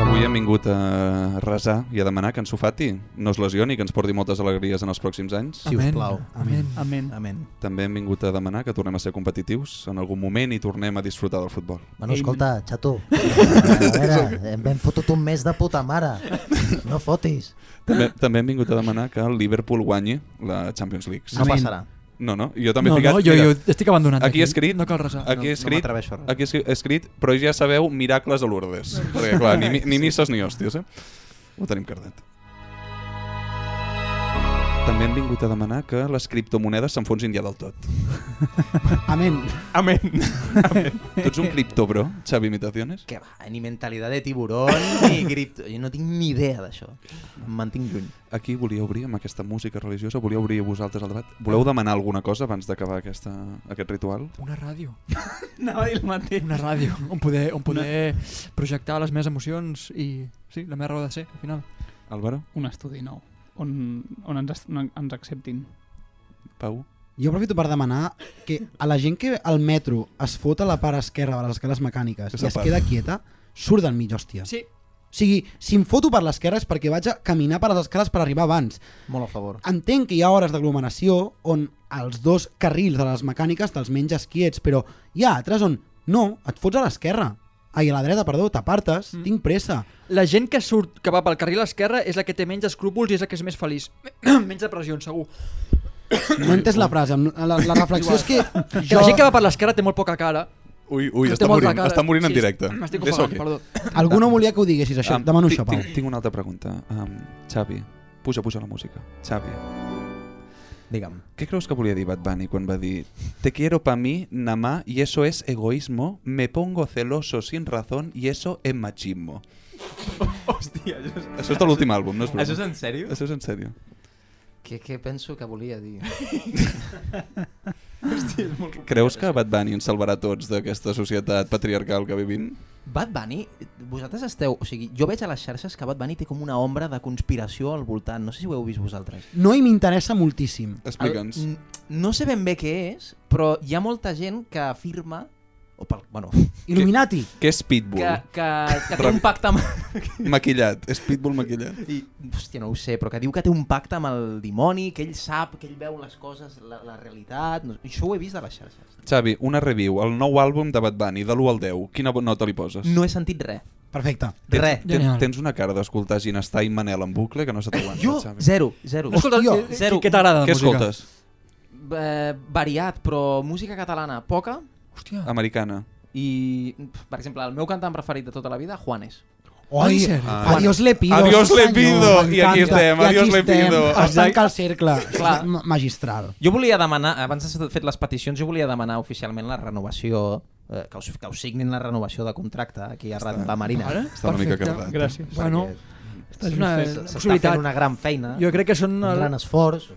Avui hem vingut a resar i a demanar que en Sofati no es lesioni, que ens porti moltes alegries en els pròxims anys.
Si us Amén. plau. Amén.
Amén.
Amén.
També hem vingut a demanar que tornem a ser competitius en algun moment i tornem a disfrutar del futbol.
Ah.
Bueno, escolta,
[LAUGHS]
xato, a veure, hem fotut un mes de puta
[LAUGHS]
mare. No fotis.
També, també hem vingut a demanar que el Liverpool guanyi la Champions League.
No Amén. passarà.
No, no, jo també
No,
he ficat...
no, jo- jo estic abandonat
Aquí
aquí.
he escrit...
No cal eh? resar.
Aquí
No,
he
no
escrit,
m'atreveixo a resar.
aquí he escrit, he escrit, però ja sabeu, miracles a Lourdes.
[LAUGHS]
Perquè, clar, ni, mi- ni misses ni hòsties, eh? Ho tenim cardat. També hem vingut a demanar que les criptomonedes s'enfonsin ja del tot.
Amén.
Amén.
Tu [LAUGHS] ets un criptobro, Xavi Imitaciones?
Que va, ni mentalitat de tiburón, ni cripto. Jo no tinc ni idea d'això. Em mantinc lluny.
Aquí volia obrir amb aquesta música religiosa, volia obrir a vosaltres el debat. Voleu demanar alguna cosa abans d'acabar aquesta- aquest ritual?
Una ràdio.
Anava a dir el mateix.
Una ràdio, on poder, on poder projectar les meves emocions i sí, la meva raó de ser, al final.
Álvaro?
Un estudi nou, on, on ens, on ens acceptin.
Pau?
Jo aprofito per demanar que a la gent que al metro es fota la part esquerra de les escales mecàniques
Que
i es
s'aparta.
queda quieta, surt del mig, hòstia.
Sí.
O sigui, si em foto per l'esquerra és perquè vaig a caminar per les escales per arribar abans.
Molt a favor.
Entenc que hi ha hores d'aglomeració on els dos carrils de les mecàniques te'ls menges quiets, però hi ha altres on no, et fots a l'esquerra. Ai, a la dreta, perdó, t'apartes, mm. tinc pressa.
La gent que surt, que va pel carril esquerre, és la que té menys escrúpols i és la que és més feliç. [CLEARS THROAT] menys depressions, segur.
No he entès la frase, em- la, la reflexió és que...
Que la gent que va per l'esquerra té molt poca cara.
Ui, ui,
Este Té
està
molta
morint, està morint en directe.
M'estic
Deixa-ho
ofegant,
aquí.
perdó.
Algú no volia que ho diguessis, això.
Am,
Demano
ti-
això, Pau.
Tinc, tinc una altra pregunta. Um, Xavi, puja, puja la música. Xavi.
Digue'm.
Què creus que volia dir Bad Bunny quan va dir Te quiero pa mi, na ma, y eso es egoísmo, me pongo celoso sin razón y eso es machismo.
Hòstia, això és...
Això és de l'últim àlbum, no és broma.
Això és en sèrio?
Això és en sèrio.
Què, què penso que volia dir?
Hòstia, és molt...
Creus que Bad Bunny ens salvarà a tots d'aquesta societat patriarcal que vivim?
Bad Bunny, vosaltres esteu... O sigui, jo veig a les xarxes que Bad Bunny té com una ombra de conspiració al voltant. No sé si ho heu vist vosaltres.
No i m'interessa moltíssim.
El- n- no sé ben bé què és, però hi ha molta gent que afirma... O pel, bueno,
Illuminati.
Què és Pitbull?
que, que, que té un
Rep-
pacte amb...
Maquillat, és Pitbull maquillat.
I, hòstia, no ho sé, però que diu que té un pacte amb el dimoni, que ell sap, que ell veu les coses, la, la realitat... No, això ho he vist a les xarxes.
Xavi, una review, el nou àlbum de Bad Bunny, de l'1 al 10, quina bo- nota li poses?
No he sentit res.
Perfecte.
Tens,
Re.
Tens, tens una cara d'escoltar Ginestar i Manel en bucle que no se t'aguanta,
Jo,
Xavi.
zero, zero.
Escolta,
Hòstia.
eh, què- què t'agrada de
Què
música?
escoltes?
Eh, variat, però música catalana poca.
Hòstia.
Americana.
I, per exemple, el meu cantant preferit de tota la vida, Juanes.
Oi,
Ah.
adiós le pido.
Adiós
sí
le
senyor,
pido. I aquí
m'encanta.
estem,
I aquí
adiós le
estem.
pido.
Es tanca el cercle.
Clar.
Ma- Magistral.
Jo volia demanar, abans de fet les peticions, jo volia demanar oficialment la renovació, eh, que, us, que us signin la renovació de contracte aquí a Ràdio La Marina.
Ara?
Està una mica
Perfecte.
cardat.
Gràcies. Bueno,
Perquè
Ah, és una
s'està fent
possibilitat.
una gran feina,
Jo crec que són...
un
el-
gran esforç,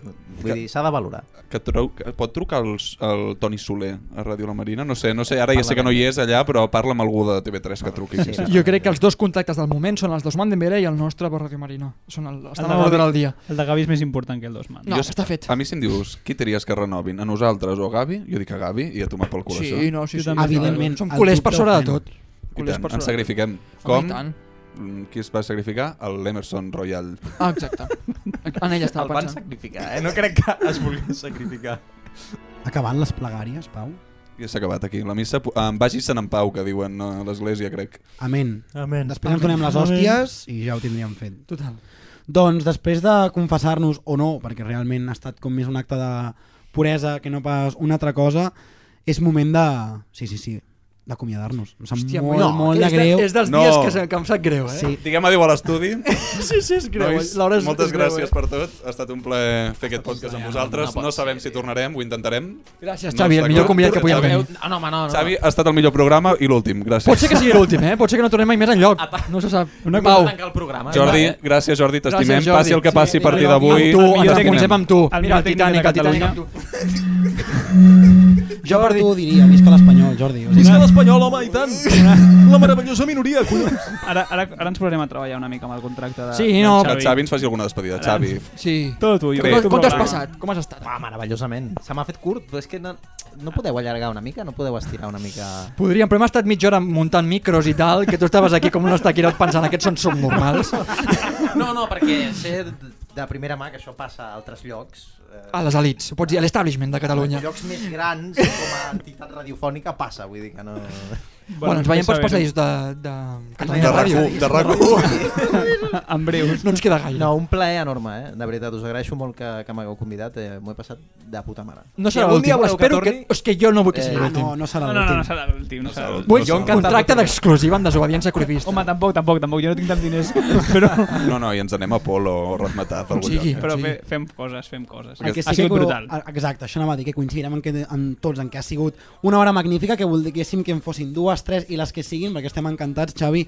vull dir, s'ha de valorar.
Que, trau, que pot trucar el, el Toni Soler a Ràdio La Marina? No sé, no sé, ara ja sé que no hi és allà, però parla amb algú de TV3 que truqui. Sí,
Jo crec que els dos contactes del moment són els d'Osman Dembélé i el nostre per Radio Marina. Són el, estan a l'ordre del dia.
El de Gavi és més important que el d'Osman.
No, està fet.
A mi si em dius, qui tries que renovin? A nosaltres o a Gavi? Jo dic a Gavi i a tomar pel cul
Sí,
això.
no, sí, Jo sí. també. Evidentment, Som el culers dubte per sobre de ho fem. tot.
I
Culers
tant,
per
ens
sobre de
sacrifiquem.
Home, i
Com?
tant.
mm, qui es va sacrificar? L'Emerson Royal.
Ah, exacte. En ell estava
El van
pensant.
sacrificar, eh? No crec que es volgués sacrificar.
Acabant les plegàries, Pau.
I s'ha acabat aquí. La missa... pu- em vagis-se'n en pau, que diuen a l'església, crec.
Amén.
Amén.
Després ens
Amén.
donem les
Amén.
hòsties i ja ho tindríem fet.
Total.
Doncs després de confessar-nos o no, perquè realment ha estat com més un acte de puresa que no pas una altra cosa, és moment de... Sí, sí, sí, d'acomiadar-nos. Em sap
Hòstia,
molt,
no,
molt
és
de
de-
greu.
és dels No. dies que se- que em sap greu, eh?
Sí.
Diguem adéu a l'estudi.
[LAUGHS] Sí, sí, és greu.
Nois,
L'hora és-
moltes
és greu,
gràcies
eh?
per tot. Ha estat un plaer fer aquest podcast amb vosaltres. No sabem si tornarem, ho intentarem.
Gràcies,
No
Xavi,
està
el millor
clar.
convidat que podíem
Xavi-
tenir.
Ah, no, home, no, no.
Xavi, ha estat el millor programa i l'últim. Gràcies.
Pot ser que sigui l'últim, eh? Pot ser que no tornem mai més enlloc. No se sap.
Una cosa-
Pau.
Tancar el programa, Jordi, eh? gràcies, Jordi, t'estimem.
Gràcies, Jordi.
Passi el que passi a partir
millor-
d'avui.
Amb tu,
El millor
ens
tècnic-
reconeixem amb tu.
el
Mira,
millor
el
tècnic de
Titanic, el Titanic amb tu.
Jo per tu diria, visca l'Espanyol, Jordi. O sigui,
Visca l'Espanyol, home, i
[LAUGHS]
tant! La meravellosa minoria, collons!
Ara, ara, ara ens posarem a treballar una mica amb el contracte de,
Sí,
del
no. Que
Xavi.
el Xavi ens faci alguna despedida.
Ara
Xavi.
ens-
Sí.
Tot tu, jo.
Crec.
Com t'has
Programa.
passat? Com has estat?
Ah, meravellosament. Se m'ha fet curt, però és que no, no podeu allargar una mica? No podeu estirar una mica?
Podríem, però hem estat mitja hora muntant micros i tal, que tu estaves aquí com un estaquirot pensant aquests són subnormals.
No, no, perquè sé de primera mà que això passa a altres llocs. Eh,
A les elites, ho pots dir, a l'establishment de Catalunya.
Llocs més grans com a entitat radiofònica passa, vull dir que no...
Bueno, ens veiem pels passadís de, de Catalunya Ràdio. en breu. No ens queda gaire.
No, un plaer enorme, eh? De veritat, us agraeixo molt que, que m'hagueu convidat. Eh? M'ho he passat de puta mare.
No serà l'últim. Espero que... És que jo no vull que sigui l'últim.
no, no, no, no serà l'últim. No serà l'últim.
Vull
Jo
un
encantat
contracte
de-
d'exclusiva amb desobediència crudista.
Home, tampoc, tampoc, tampoc. Jo no tinc tants diners, [LAUGHS] però...
No, no, i ens anem a Polo o Razmetat. algun lloc.
però fe, fem coses, fem coses.
El que sí
ha
que
sigut
co-
brutal.
a- Exacte, això anava a dir, que coincidirem en, que, en tots, en que ha sigut una hora magnífica, que voldríem que en fossin dues, tres i les que siguin, perquè estem encantats, Xavi.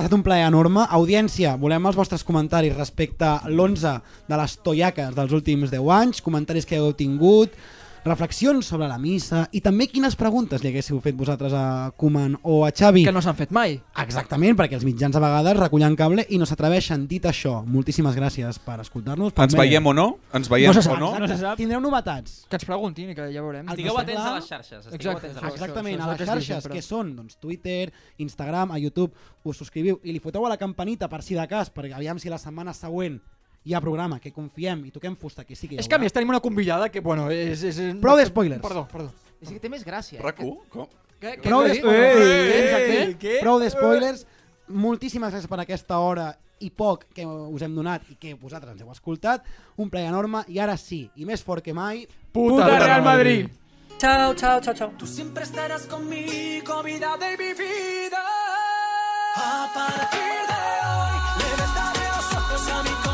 Ha estat un plaer enorme. Audiència, volem els vostres comentaris respecte a l'11 de les toiaques dels últims 10 anys, comentaris que heu tingut, reflexions sobre la missa i també quines preguntes li haguéssiu fet vosaltres a Koeman o a Xavi.
Que no s'han fet mai.
Exactament, perquè els mitjans a vegades recullen cable i no s'atreveixen. Dit això, moltíssimes gràcies per escoltar-nos. per
Ens
mail.
veiem o no? Ens veiem
No se sap,
o no?
exacte. Tindreu novetats.
Que ens preguntin i que ja veurem.
Estigueu
atents a les xarxes, estigueu atents a les
Exacte, això,
xarxes.
Exactament,
això,
a
això
les
és el que es diu
xarxes,
sempre.
que són doncs, Twitter, Instagram, a YouTube, us subscriviu i li foteu a la campanita per si de cas, perquè aviam si la setmana següent hi ha programa, que confiem i toquem fusta, que sí que hi
És que a més tenim una convidada que, bueno, és... és...
Prou de spoilers.
Perdó, perdó.
És que té més gràcia.
RAC1? Com?
Què, què
Prou
has
de
dit?
spoilers.
Què?
Prou de spoilers. Moltíssimes gràcies per aquesta hora i poc que us hem donat i que vosaltres ens heu escoltat. Un plaer enorme i ara sí, i més fort que mai...
Puta Real Madrid.
Chao, chao, chao, chao. Tú siempre estarás conmigo, vida de mi vida. A partir de hoy, le vendaré los ojos a mi corazón.